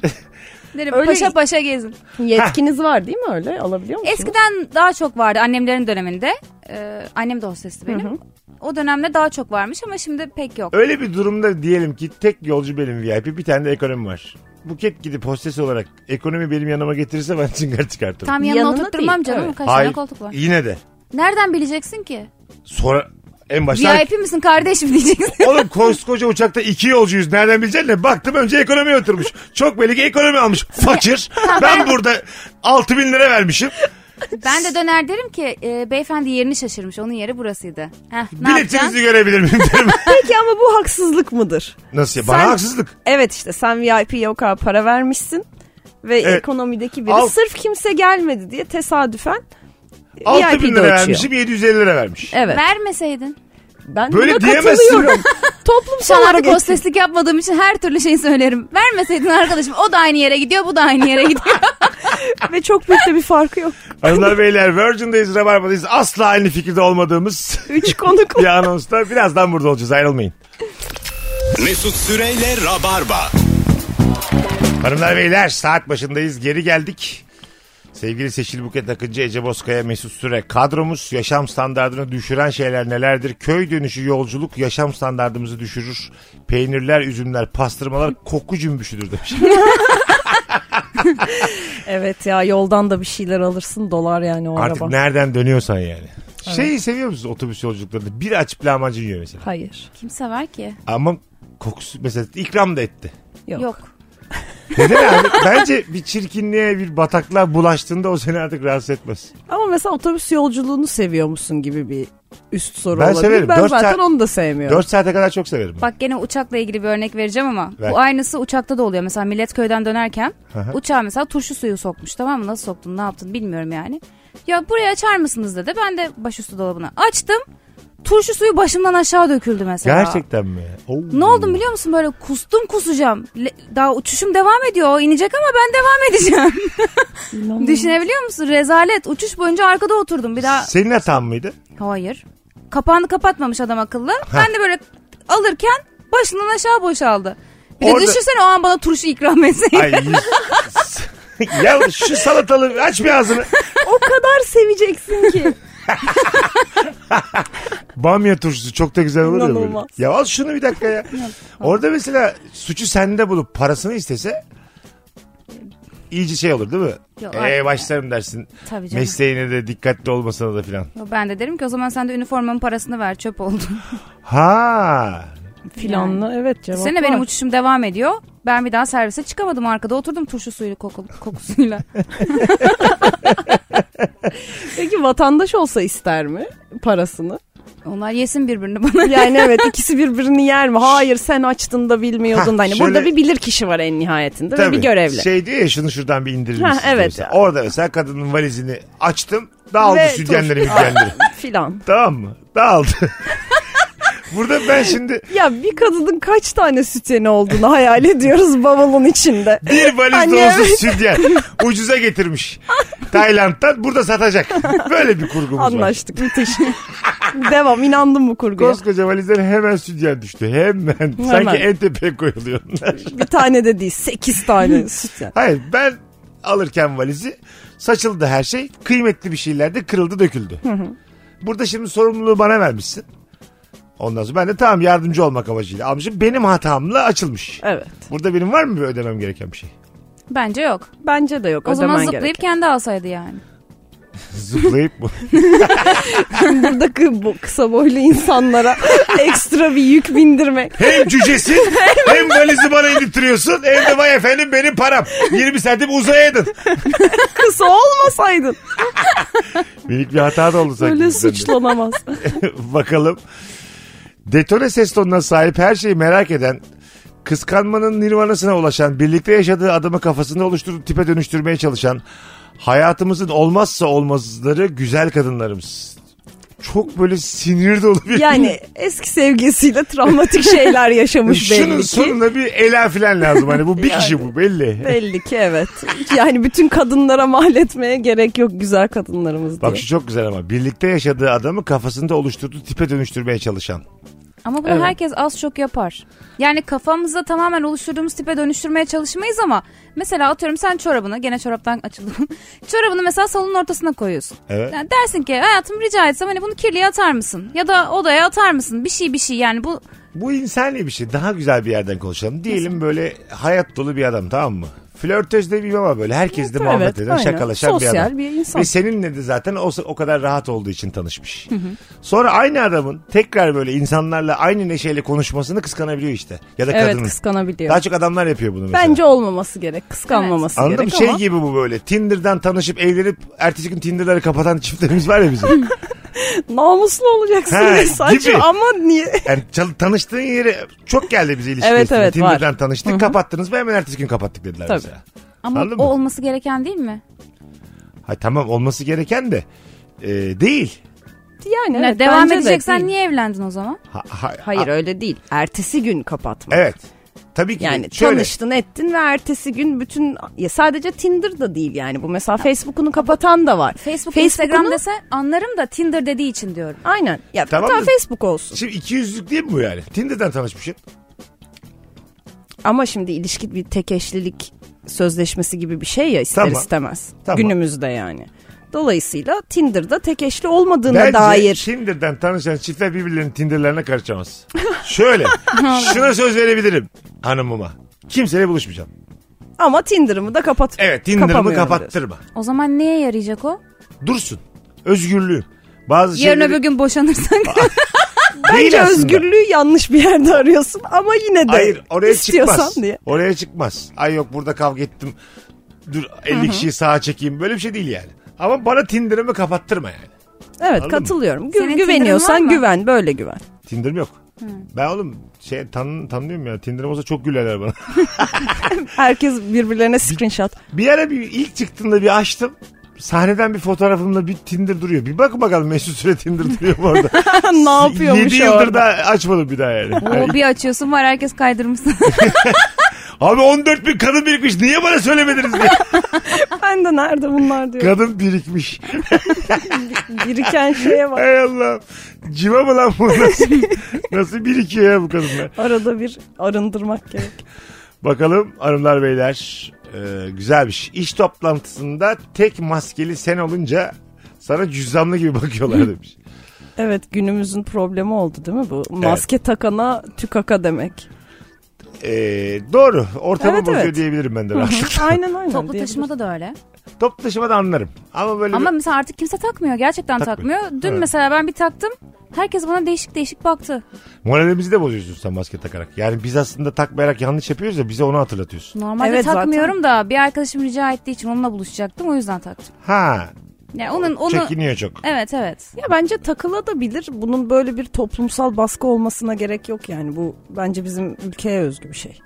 Derim Öyle- paşa paşa gezin. Yetkiniz var değil mi öyle? Alabiliyor musunuz? Eskiden daha çok vardı annemlerin döneminde. Ee, annem de hostesti benim. O dönemde daha çok varmış ama şimdi pek yok. Öyle bir durumda diyelim ki tek yolcu benim VIP bir tane de ekonomi var. Buket gidip hostes olarak ekonomi benim yanıma getirirse ben çıngar çıkartırım. Tam yanına, Yanına oturtturmam değil, canım. evet. Kaç Hayır tane koltuk var. yine de. Nereden bileceksin ki? Sonra en başta VIP misin kardeşim diyeceksin. Oğlum koskoca uçakta iki yolcuyuz. Nereden bileceksin ne? Baktım önce ekonomi oturmuş. Çok belli ki ekonomi almış. Fakir. Ben burada 6000 bin lira vermişim. ben de döner derim ki e, beyefendi yerini şaşırmış. Onun yeri burasıydı. Heh, ne yapacaksın? Biletinizi görebilir miyim derim. Peki ama bu haksızlık mıdır? Nasıl ya? Bana Sen- haksızlık. Evet işte sen VIP'ye o kadar para vermişsin ve Evet. ekonomideki biri Al. sırf kimse gelmedi diye tesadüfen 6000 bin VIP'de lira uçuyor. vermişim 750 lira vermiş. Evet. Vermeseydin. Ben Böyle buna diyemezsin. katılıyorum. Toplumsal Şu an artık hareket. hosteslik yapmadığım için her türlü şeyi söylerim. Vermeseydin arkadaşım o da aynı yere gidiyor bu da aynı yere gidiyor. Ve çok büyük de bir farkı yok. Hanımlar beyler Virgin'deyiz Rabarba'dayız. Asla aynı fikirde olmadığımız Üç konuk. bir anonsta. Birazdan burada olacağız ayrılmayın. Mesut Süreyle Rabarba. Hanımlar beyler saat başındayız geri geldik. Sevgili Seçil Buket Akıncı, Ece Bozkaya, Mesut Süre kadromuz yaşam standartını düşüren şeyler nelerdir? Köy dönüşü yolculuk yaşam standartımızı düşürür. Peynirler, üzümler, pastırmalar koku cümbüşüdür demiş. evet ya yoldan da bir şeyler alırsın dolar yani o Artık araba. nereden dönüyorsan yani. Şeyi seviyor musunuz otobüs yolculuklarında? Bir açıp lahmacun yiyor mesela. Hayır. Kimse var ki. Ama kokusu mesela ikram da etti. Yok. Yok. Neden abi? Bence bir çirkinliğe bir bataklığa bulaştığında o seni artık rahatsız etmez. Ama mesela otobüs yolculuğunu seviyor musun gibi bir üst soru Ben olabilir. severim. Ben Dört zaten saat- onu da sevmiyorum. 4 saate kadar çok severim. Bak gene uçakla ilgili bir örnek vereceğim ama Ver. bu aynısı uçakta da oluyor. Mesela millet köyden dönerken hı. uçağa mesela turşu suyu sokmuş tamam mı? Nasıl soktun ne yaptın bilmiyorum yani. Ya buraya açar mısınız dedi. Ben de başüstü dolabına açtım. Turşu suyu başımdan aşağı döküldü mesela. Gerçekten mi? Oo. Ne oldum biliyor musun böyle kustum kusacağım. Le- Daha uçuşum devam ediyor o inecek ama ben devam edeceğim. Düşünebiliyor musun? Rezalet. Uçuş boyunca arkada oturdum bir daha. Senin hatan mıydı? Hayır. Kapağını kapatmamış adam akıllı. Ben de böyle alırken başından aşağı boşaldı. Bir de Orada- düşünsene o an bana turşu ikram etseydi. Ay. ya şu salatalı aç bir ağzını. o kadar seveceksin ki. Bamya turşusu çok da güzel olur ya böyle. İnanılmaz. Ya al şunu bir dakika ya. Orada mesela suçu sende bulup parasını istese iyice şey olur değil mi? Yok, Ee aynen. başlarım dersin. Tabii canım. Mesleğine de dikkatli olmasına da filan. Ben de derim ki o zaman sen de üniformanın parasını ver çöp oldu. Ha. Filanla evet cevap Sene var. benim uçuşum devam ediyor. Ben bir daha servise çıkamadım arkada oturdum turşu suyu koku- kokusuyla. Peki vatandaş olsa ister mi parasını? Onlar yesin birbirini bana. Yani evet ikisi birbirini yer mi? Hayır sen açtın da bilmiyordun da. Ha, Hani şöyle- Burada bir bilir kişi var en nihayetinde ve bir görevli. Şey diyor ya şunu şuradan bir indirir Ha, misiniz? evet. diyorsa. Orada mesela kadının valizini açtım. Dağıldı Ve sütyenleri turşu- mütyenleri. Filan. tamam mı? Dağıldı. Burada ben şimdi Ya bir kadının kaç tane sütyeni olduğunu hayal ediyoruz bavulun içinde. Bir valiz Anne, dolusu evet. sütyen. Ucuza getirmiş. Tayland'dan burada satacak. Böyle bir kurgumuz var. Anlaştık müthiş. Devam inandım bu kurguya. Koskoca valizden hemen sütyen düştü. Hemen. Sanki en tepeye koyuluyor onlar. Bir tane de değil sekiz tane sütyen. Hayır ben alırken valizi saçıldı her şey. Kıymetli bir şeyler de kırıldı döküldü. Burada şimdi sorumluluğu bana vermişsin. Ondan sonra ben de tamam yardımcı olmak amacıyla almışım. Benim hatamla açılmış. Evet. Burada benim var mı bir ödemem gereken bir şey? Bence yok. Bence de yok. O zaman ödemen zıplayıp gerek. kendi alsaydı yani. Zıplayıp mı? buradaki bu kısa boylu insanlara ekstra bir yük bindirmek. Hem cücesin hem valizi bana indirtiyorsun hem de vay efendim benim param. 20 santim uzayaydın. Kısa olmasaydın Minik bir hata da oldu sanki. böyle bizden de. suçlanamaz. Bakalım. Detone ses tonuna sahip her şeyi merak eden kıskanmanın nirvanasına ulaşan, birlikte yaşadığı adamı kafasında oluşturup tipe dönüştürmeye çalışan hayatımızın olmazsa olmazları güzel kadınlarımız. Çok böyle sinir dolu bir... Yani eski sevgisiyle travmatik şeyler yaşamış Şunun belli ki. sonunda bir ela filan lazım. Hani bu bir kişi bu belli. Belli ki evet. Yani bütün kadınlara mal etmeye gerek yok güzel kadınlarımız diye. Bak şu çok güzel ama birlikte yaşadığı adamı kafasında oluşturduğu tipe dönüştürmeye çalışan. Ama bunu Evet. herkes az çok yapar. Yani kafamızda tamamen oluşturduğumuz tipe dönüştürmeye çalışmayız ama mesela atıyorum sen çorabını gene çoraptan açıldım. çorabını mesela salonun ortasına koyuyorsun. Evet. Yani dersin ki hayatım rica etsem hani bunu kirliye atar mısın? Ya da odaya atar mısın? Bir şey bir şey yani bu Bu insani bir şey. Daha güzel bir yerden konuşalım. Diyelim böyle hayat dolu bir adam tamam mı? Flörtöz demeyeyim ama böyle herkesle Evet, muhabbet evet, eden, aynen. şakalaşan bir Sosyal adam. bir insan. Ve seninle de zaten o, o kadar rahat olduğu için tanışmış. Sonra aynı adamın tekrar böyle insanlarla aynı neşeyle konuşmasını kıskanabiliyor işte. Ya da Evet kadının. kıskanabiliyor. Daha çok adamlar yapıyor bunu mesela. Bence olmaması gerek. Kıskanmaması Anladın mı? gerek Şey ama. gibi bu böyle. Tinder'dan tanışıp evlenip ertesi gün Tinder'ları kapatan çiftlerimiz var ya bizim. Namuslu olacaksın Ha, ve saçma gibi. ama niye? Yani çal- tanıştığın yeri çok geldi bize ilişki. Evet, testine. evet, var. Tinder'dan tanıştık kapattınız mı hemen ertesi gün kapattık dediler Tabii. mesela. ama Anladın o mı? olması gereken değil mi? Ha, tamam olması gereken de e, değil. Yani Ne, evet, devam bence de edeceksen değil. niye evlendin o zaman? Ha- ha- Hayır ha- öyle değil. Ertesi gün kapatma. evet. Tabii ki. Yani şöyle, tanıştın ettin ve ertesi gün bütün ya sadece Tinder da değil yani bu mesela Facebook'unu kapatan da var. Facebook, Facebook'unu- Instagram dese anlarım da Tinder dediği için diyorum. Aynen. Ya Tamam tamam, da- Facebook olsun. Şimdi iki yüzlük değil mi bu yani? Tinder'dan tanışmışsın. Ama şimdi ilişki bir tek eşlilik sözleşmesi gibi bir şey ya ister Tamam. istemez. Tamam. Günümüzde yani. Dolayısıyla Tinder'da tek eşli olmadığına Bence dair. Tinder'dan tanışan çiftler birbirlerinin Tinder'larına karışamaz. Şöyle. şuna söz verebilirim hanımıma. Kimseyle buluşmayacağım. Ama Tinder'ımı da kapat. Evet Tinder'ımı kapamıyorum diyorsun. kapattırma. O zaman neye yarayacak o? Dursun. Özgürlüğüm. Bazı Yarın şeyleri... öbür gün boşanırsak. Değil Bence aslında. özgürlüğü yanlış bir yerde arıyorsun ama yine de Hayır oraya istiyorsan çıkmaz. diye. Oraya çıkmaz. Ay yok burada kavga ettim. Dur 50 kişiyi sağa çekeyim. Böyle bir şey değil yani. Ama bana Tinder'ımı kapattırma yani. Evet mı? katılıyorum. Gü- Senin Tinder'ın var güveniyorsan mı? güven böyle güven. Tinder'ım yok. Ben oğlum şey tan tanıyorum ya Tinder'ım olsa çok gülerler bana. Herkes birbirlerine screenshot. bir ara bir ilk çıktığında bir açtım. sahneden bir fotoğrafımla bir Tinder duruyor. Bir bakın bakalım Mesut Süre Tinder duruyor mu orada. ne yapıyormuş 7 yıldır orada? da açmadım bir daha yani. Oo, bir açıyorsun var herkes kaydırmış. Abi 14 bin kadın birikmiş. Niye bana söylemediniz diye. Ben de nerede bunlar diyor. kadın birikmiş. Biriken şeye bak. Hay Allah. Civa mı lan bu? Nasıl, nasıl birikiyor ya bu kadınlar? Arada bir arındırmak gerek. Bakalım hanımlar beyler. Ee, güzelmiş. İş toplantısında tek maskeli sen olunca sana cüzdanlı gibi bakıyorlar demiş. Evet günümüzün problemi oldu değil mi bu? Maske takana tükaka demek. Ee, doğru. Ortamı Evet, bozuyor evet. diyebilirim ben de. Hı hı. rahatlıkla. aynen aynen. Toplu diyebiliriz. taşımada da öyle. Toplu taşımada anlarım. Ama böyle Ama bir- mesela artık kimse takmıyor. Gerçekten Takmıyor. takmıyor. Dün Evet. mesela ben bir taktım. Herkes bana değişik değişik baktı. moralimizi de bozuyorsun sen maske takarak. Yani biz aslında takmayarak yanlış yapıyoruz ya bize onu hatırlatıyorsun. Normalde Evet, zaten. takmıyorum da bir arkadaşım rica ettiği için onunla buluşacaktım. O yüzden taktım. Ha. Yani onun onu Çekiniyor çok. Evet evet. Ya bence takılabilir. Bunun böyle bir toplumsal baskı olmasına gerek yok yani. Bu bence bizim ülkeye özgü bir şey.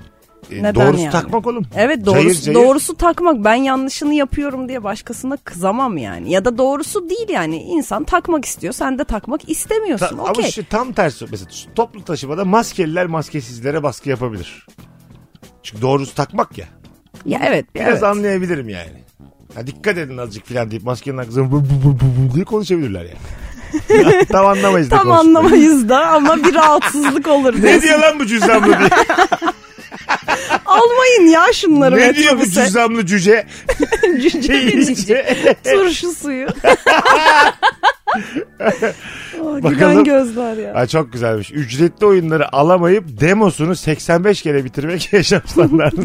Ee, Neden doğrusu yani? takmak oğlum. Evet doğrusu, Cayır cayır. doğrusu takmak. Ben yanlışını yapıyorum diye başkasına kızamam yani. Ya da doğrusu değil yani. İnsan takmak istiyor. Sen de takmak Ta- istemiyorsun. Ama Okey. şu tam tersi mesela toplu taşımada maskeliler maskesizlere baskı yapabilir. Çünkü doğrusu takmak ya. Ya evet. Biraz evet. anlayabilirim yani. Ha, dikkat edin azıcık filan deyip maskenin arkasından bu, bu, bu, bu diye konuşabilirler yani. Ya, tam anlamayız da Tam konuştuklarını. anlamayız da ama bir rahatsızlık olur Ne diyorsun. diyor lan bu cüzdanlı diye. Almayın ya şunları ne diyor bu Şey, metrobüse. cüzdanlı cüce? Cüce. Turşu suyu. Oh, Bakalım. gülen gözler ya. Ha, çok güzelmiş. Ücretli oyunları alamayıp demosunu 85 kere bitirmek yaşam standartı.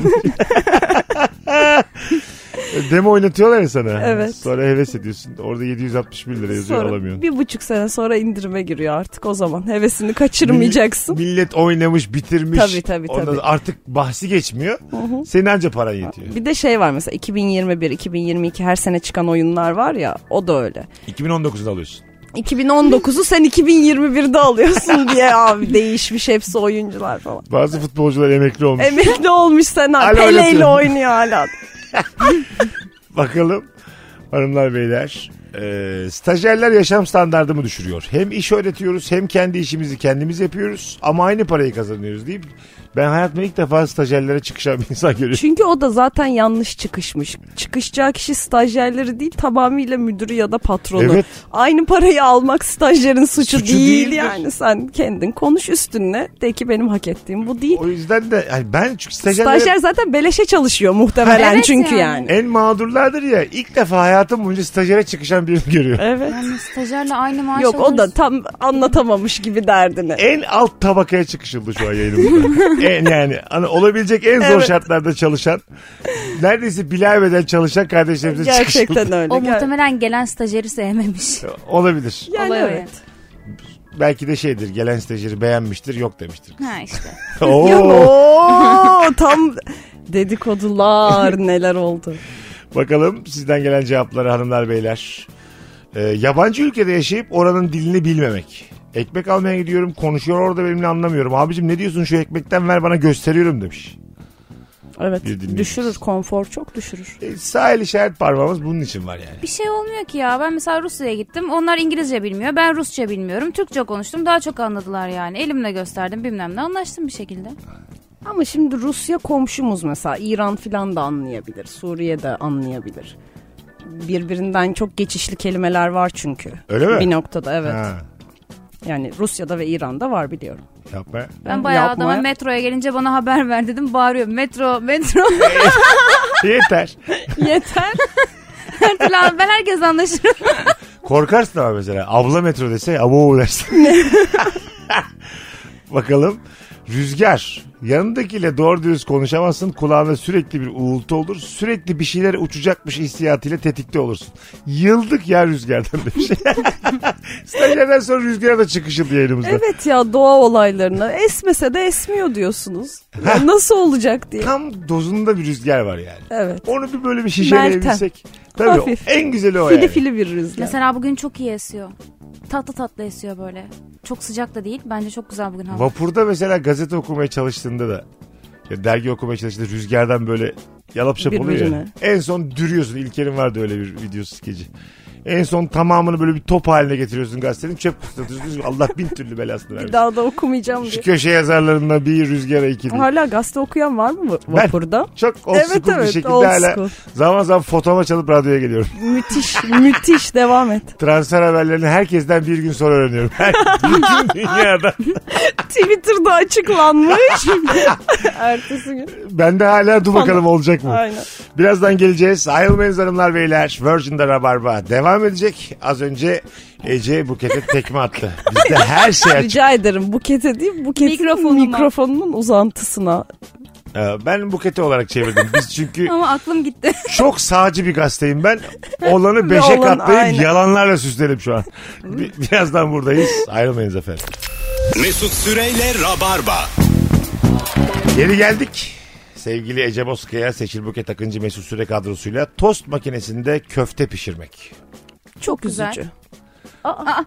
Demo oynatıyorlar ya sana. Evet. Sonra heves ediyorsun. Orada 761 lira yazıyor Sonra alamıyorsun. bir buçuk sene sonra indirime giriyor artık o zaman. Hevesini kaçırmayacaksın. Millet, millet oynamış, bitirmiş. Tabii, tabii, Ondan tabii. artık bahsi geçmiyor. Senin anca paran yetiyor. Bir de şey var mesela 2021, 2022 her sene çıkan oyunlar var ya o da öyle. 2019'da alıyorsun. 2019'u sen 2021'de alıyorsun diye abi değişmiş hepsi oyuncular falan. Bazı futbolcular emekli olmuş. Emekli olmuş sen Hala hala. Pele ile oynatıyorum. oynuyor hala. Bakalım hanımlar beyler. Ee, stajyerler yaşam standartımı düşürüyor. Hem iş öğretiyoruz hem kendi işimizi kendimiz yapıyoruz ama aynı parayı kazanıyoruz deyip ben hayatımda ilk defa stajyerlere çıkışan bir insan görüyorum. Çünkü o da zaten yanlış çıkışmış. Çıkışacağı kişi stajyerleri değil tamamıyla müdürü ya da patronu. Evet. Aynı parayı almak stajyerin suçu, Suçu değil değildir. yani. Sen kendin konuş üstüne de ki benim hak ettiğim bu değil. O yüzden de yani ben çünkü stajyerlere Stajyer zaten beleşe çalışıyor muhtemelen Evet çünkü yani. yani. en mağdurlardır ya ilk defa hayatım boyunca stajyere çıkışan birini görüyorum. Evet. Yani stajyerle aynı maaş Yok o da alırız. tam anlatamamış gibi derdini. En alt tabakaya çıkışıldı şu an yayınımızda. en yani hani olabilecek en zor Evet. şartlarda çalışan neredeyse bilemeden çalışan kardeşlerimize çıkışıldı. Gerçekten öyle. O Ger- muhtemelen gelen stajyeri sevmemiş. Olabilir. Yani Olay o evet. Belki de şeydir gelen stajyeri beğenmiştir yok demiştir. yani. Ha işte. Ya, Oo, Oo, tam dedikodular neler oldu. bakalım sizden gelen cevapları hanımlar beyler. Ee, yabancı ülkede yaşayıp oranın dilini bilmemek. Ekmek almaya gidiyorum konuşuyor orada benimle anlamıyorum. Abicim ne diyorsun şu ekmekten ver bana gösteriyorum demiş. Evet Bir dinleyicimiz. düşürür konfor çok düşürür. E, sahil işaret parmağımız bunun için var yani. Bir şey olmuyor ki ya. Ben mesela Rusya'ya gittim. Onlar İngilizce bilmiyor. Ben Rusça bilmiyorum. Türkçe konuştum. Daha çok anladılar yani. Elimle gösterdim bilmem ne. Anlaştım bir şekilde. Ama şimdi Rusya komşumuz mesela İran filan da anlayabilir. Suriye de anlayabilir. Birbirinden çok geçişli kelimeler var çünkü. Öyle mi? Bir noktada evet. Ha, Yani Rusya'da ve İran'da var biliyorum. yapma. ya. Ben bayağı Yapmaya- adama metroya gelince bana haber ver dedim. Bağırıyor. Metro, metro. Yeter. Yeter. Her türlü an- ben herkes anlaşırım. Korkarsın ama mesela. Abla metro dese abo dersin. Bakalım. Rüzgar. Yanındakiyle doğru dürüst konuşamazsın. Kulağında sürekli bir uğultu olur. Sürekli bir şeyler uçacakmış hissiyatıyla tetikte olursun. Yıldık ya rüzgardan demiş. Stajyerden sonra rüzgara da çıkışıldı yayınımızda. evet ya doğa olaylarına esmese de esmiyor diyorsunuz. Ya nasıl olacak diye. Tam dozunda bir rüzgar var yani. Evet. Onu bir böyle bir şişeleyebilsek. Tabii Hafif. en güzeli o Fili yani. fili bir rüzgar. Mesela bugün çok iyi esiyor. Tatlı tatlı esiyor böyle. Çok sıcak da değil. Bence çok güzel bugün hava. Vapurda mesela gazete okumaya çalıştığında da ya dergi okumaya çalıştığında rüzgardan böyle Yalap şap oluyor ya. Birbirine. En son dürüyorsun. İlker'in vardı öyle bir video skeci. En son tamamını böyle bir top haline getiriyorsun gazetenin. Çöp kutusuna atıyorsun. Allah bin türlü belasını Bir vermiş. daha da okumayacağım diye. Şu köşe yazarlarında bir rüzgara iki diye. Hala gazete okuyan var mı bu- vapurda? Çok old Evet, school bir evet, şekilde old hala school. zaman zaman fotoma çalıp radyoya geliyorum. müthiş, müthiş devam et. Transfer haberlerini herkesten bir gün sonra öğreniyorum. Her, bütün dünyada. Twitter'da açıklanmış. Ertesi gün. Ben de hala dur bakalım olacak mı? Aynen. Birazdan geleceğiz. Ayrılmayınız hanımlar beyler. Virgin'de Rabarba devam edecek. Az önce Ece Buket'e tekme attı. Bizde her şey açık. Rica ederim bukete değil buketin Mikrofonuma. mikrofonunun uzantısına. Ee, Ben Buket'e olarak çevirdim. Biz çünkü Ama aklım gitti. çok sağcı bir gazeteyim ben. Olanı beşe Ve olan, katlayıp aynen. yalanlarla süslerim şu an. Bi- Birazdan buradayız. Ayrılmayınız efendim. Mesut Süreyle Rabarba. Geri geldik. Sevgili Ece Bozkaya, Seçil Buket Akıncı Mesut Süre kadrosuyla tost makinesinde köfte pişirmek. Çok güzel. üzücü.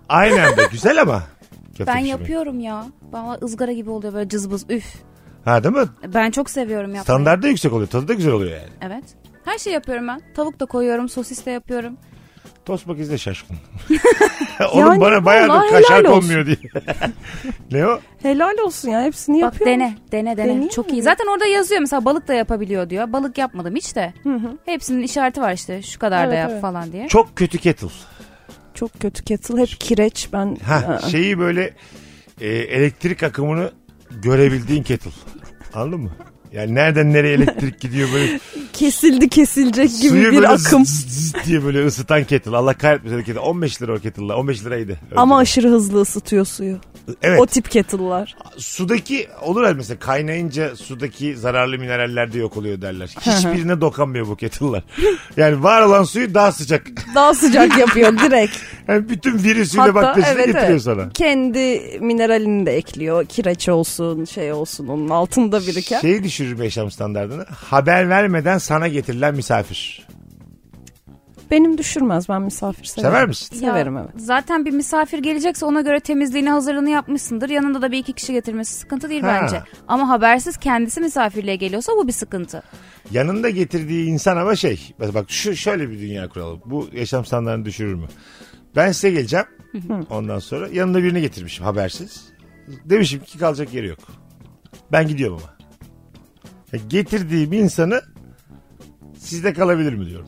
Aynen be güzel ama. Köfte ben pişirmek. yapıyorum ya. Bana ızgara gibi oluyor böyle cızbız üf. Ha değil mi? Ben çok seviyorum yapmayı. Standart da yüksek oluyor. Tadı da güzel oluyor yani. Evet. Her şey yapıyorum ben. Tavuk da koyuyorum, sosis de yapıyorum. Tost makinesi de şaşkın. Oğlum Yani bana bayağıdır vallahi kaşar helal olsun. konmuyor diye. ne o? Helal olsun ya hepsini Bak yapıyor. dene, dene, dene. Deneyeyim çok mi? iyi. Zaten orada yazıyor mesela balık da yapabiliyor diyor. Balık yapmadım hiç de. Hepsinin işareti var işte. Şu kadar da Evet, yap evet. falan diye. Çok kötü kettle. Çok kötü kettle hep kireç ben. ıı, Ha, şey- Aa. şeyi böyle e, elektrik akımını görebildiğin kettle. Anladın mı? Yani nereden nereye elektrik gidiyor böyle Kesildi kesilecek gibi Suyu bir böyle akım. zzz zzz diye böyle ısıtan kettle. Allah kahretmesin öyle kettle. 15 lira o kettle'la. 15 liraydı. Öyle Ama dedi. aşırı hızlı ısıtıyor suyu. evet. O tip kettle'lar. Sudaki olur ya mesela kaynayınca sudaki zararlı mineraller de yok oluyor derler. Hiçbirine dokanmıyor bu kettle'lar. Yani var olan suyu daha sıcak. Daha sıcak yapıyor direkt. Yani bütün virüsüyle bakterisini getiriyor sana. Kendi mineralini de ekliyor. Kireç olsun, şey olsun onun altında biriken. Şeyi düşürür mü yaşam standartını? Haber vermeden sana getirilen misafir. Benim düşürmez. Ben misafir severim. Sever misin? Ya, Severim evet. Zaten bir misafir gelecekse ona göre temizliğini hazırlığını yapmışsındır. Yanında da bir iki kişi getirmesi sıkıntı değil Ha. bence. Ama habersiz kendisi misafirliğe geliyorsa bu bir sıkıntı. Yanında getirdiği insan ama şey. Bak bak şu şöyle bir dünya kuralı. Bu yaşam standartını düşürür mü? Ben size geleceğim. Ondan sonra yanında birini getirmişim habersiz. Demişim ki kalacak yeri yok. Ben gidiyorum ama. Ya Getirdiğim insanı sizde kalabilir mi diyorum.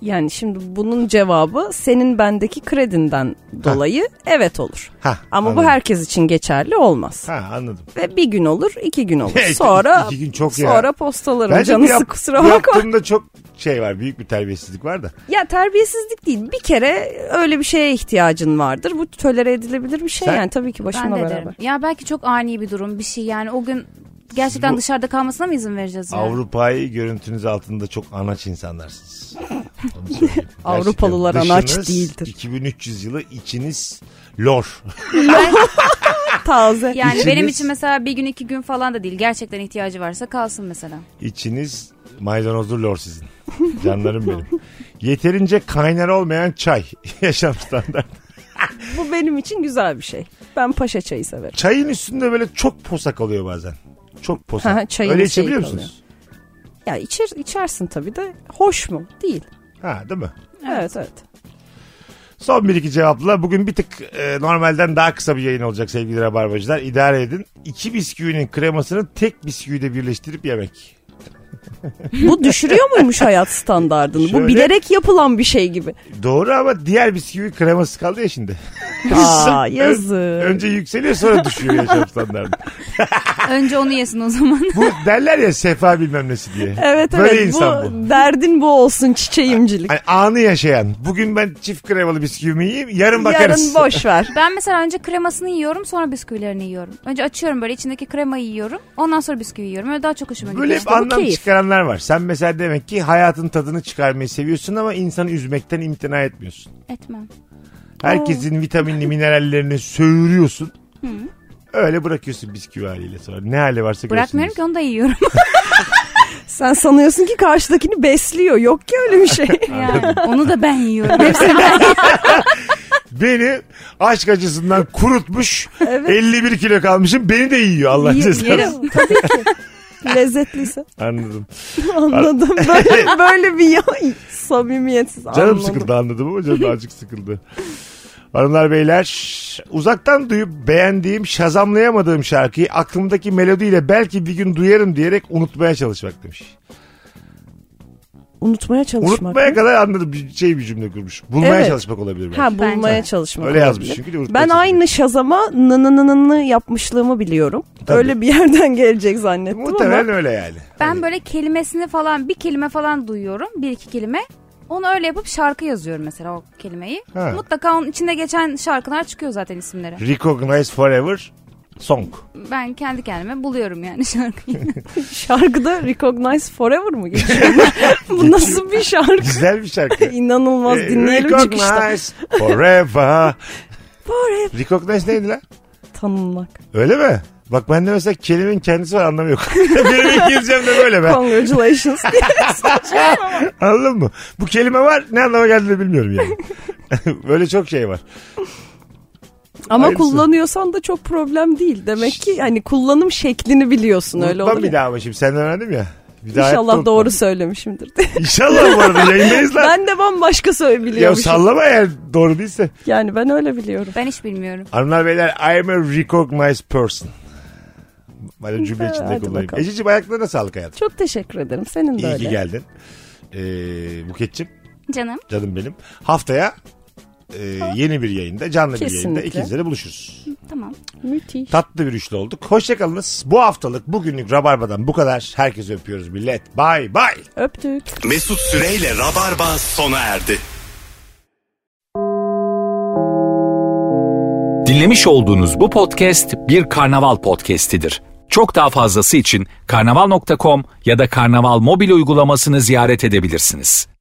Yani şimdi bunun cevabı senin bendeki kredinden dolayı evet olur. Ha, Ama anladım. bu herkes için geçerli olmaz. Ha anladım. Ve bir gün olur, iki gün olur. Evet, Sonra iki gün çok ya. sonra postalarım Bence canı bu yap- sık- kusura bu bakma. Yaptığımda çok şey var. Büyük bir terbiyesizlik var da. Ya terbiyesizlik değil. Bir kere öyle bir şeye ihtiyacın vardır. Bu tölere edilebilir bir şey Sen- yani tabii ki Ben başımla de beraber. derim. Ya belki çok ani bir durum bir şey yani o gün gerçekten Bu- dışarıda kalmasına mı izin vereceğiz yani? Avrupa'yı görüntünüz altında çok anaç insanlarsınız. Onu söyleyeyim. Avrupalılar Gerçekten anaç dışınız değildir. 2300 yılı içiniz lor. Ah, Taze. Yani İçiniz- benim için mesela bir gün iki gün falan da değil. Gerçekten ihtiyacı varsa kalsın mesela. İçiniz maydanozlu lor sizin. Canlarım benim. Yeterince kaynar olmayan çay. Yaşam standartı. Bu benim için güzel bir şey. Ben paşa çayı severim. Çayın üstünde böyle çok posak oluyor bazen. Çok Ha, posak. çayın Öyle şeyi içebiliyor kalıyor. musunuz? Ya içer, içersin tabii de hoş mu? Değil. Ha değil mi? Evet evet. Son bir iki cevapla. Bugün bir tık e, normalden daha kısa bir yayın olacak sevgili rabarbacılar. İdare edin. İki bisküvinin kremasını tek bisküviyle birleştirip yemek. Bu düşürüyor muymuş hayat standardını? Şöyle- Bu bilerek yapılan bir şey gibi. Doğru ama diğer bisküvi kreması kaldı ya şimdi. Aa Ön- yazık. önce yükseliyor sonra düşüyor yaşam standartı. Önce onu yesin o zaman. Bu derler ya sefa bilmem nesi diye. Evet Böyle evet insan bu. bu derdin bu olsun çiçeğimcilik. Hani anı yaşayan. Bugün ben çift kremalı bisküvimi yiyeyim. Yarın bakarız. Yarın boş ver. Ben mesela önce kremasını yiyorum sonra bisküvilerini yiyorum. Önce açıyorum böyle içindeki kremayı yiyorum. Ondan sonra bisküvi yiyorum. Öyle daha çok hoşuma gidiyor. Böyle hep anlam keyif. çıkaranlar var. Sen mesela demek ki hayatın tadını çıkarmayı seviyorsun ama insanı üzmekten imtina etmiyorsun. Etmem. Herkesin vitaminli minerallerini söğürüyorsun. Öyle bırakıyorsun bisküvi haliyle sonra. Ne hali varsa Bırakmıyorum ki görürsün. onu da yiyorum. Sen sanıyorsun ki karşıdakini besliyor. Yok ki öyle bir şey. yani. Onu da ben yiyorum. Hepsini ben Beni aşk acısından kurutmuş. Evet. 51 kilo kalmışım. Beni de yiyor Allah Ye- cezası. yerim. Lezzetliyse. Anladım. Anladım. Böyle, böyle bir ya samimiyetsiz Canım anladım. sıkıldı anladım ama canım azıcık sıkıldı. Hanımlar beyler uzaktan duyup beğendiğim şazamlayamadığım şarkıyı aklımdaki melodiyle belki bir gün duyarım diyerek unutmaya çalışmak demiş. Unutmaya çalışmak. Unutmaya mı? kadar anladım bir şey bir cümle kurmuş. Bulmaya Evet. çalışmak olabilir belki. Ha bulmaya Bence. çalışmak. Öyle yazmış olabilir. çünkü de unutmaya Ben çalışmak. aynı Şazam'a nınınınını yapmışlığımı biliyorum. Tabii. Öyle bir yerden gelecek zannettim Muhtemelen ama. öyle yani. Ben böyle kelimesini falan bir kelime falan duyuyorum. Bir iki kelime. Onu öyle yapıp şarkı yazıyorum mesela o kelimeyi. Ha. Mutlaka onun içinde geçen şarkılar çıkıyor zaten isimleri. Recognize forever song. Ben kendi kendime buluyorum yani şarkıyı. Şarkıda Recognize Forever mı geçiyor? Bu nasıl bir şarkı? Güzel bir şarkı. İnanılmaz Ee, dinleyelim çıkışta. Recognize forever. Forever. Recognize neydi lan? Tanınmak. Öyle mi? Bak bende mesela kelimenin kendisi var anlamı yok. Benim İngilizcem de böyle be. Congratulations. Anladın mı? Bu kelime var ne anlama geldiğini bilmiyorum yani. Böyle çok şey var. Ama Hayırlısı. kullanıyorsan da çok problem değil. Demek ki hani kullanım şeklini biliyorsun öyle Unutmam olur. bir ya. daha ama şimdi senden öğrendim ya. Bir daha hayatta İnşallah unutmam. doğru söylemişimdir. İnşallah bu arada yayındayız lan. ben de bambaşka ya söyleyebiliyormuşum. sallama eğer doğru değilse. yani ben öyle biliyorum. ben hiç bilmiyorum. Hanımlar beyler I am a recognized person. Böyle cümle Hadi içinde kullanayım. bakalım. Ececiğim ayaklarına sağlık hayatım. Çok teşekkür ederim. Senin de İyi öyle. ki geldin. Ee, Buketçim Canım canım benim. Haftaya e, yeni bir yayında canlı bir yayında Kesinlikle. ikimizde de buluşuruz. tamam. Müthiş. Tatlı bir üçlü olduk. Hoşçakalınız. Bu haftalık bugünlük Rabarba'dan bu kadar. Herkesi öpüyoruz millet. Bay bay. Öptük. Mesut Süreyle Rabarba sona erdi. Dinlemiş olduğunuz bu podcast bir karnaval podcastidir. Çok daha fazlası için karnaval.com ya da karnaval mobil uygulamasını ziyaret edebilirsiniz.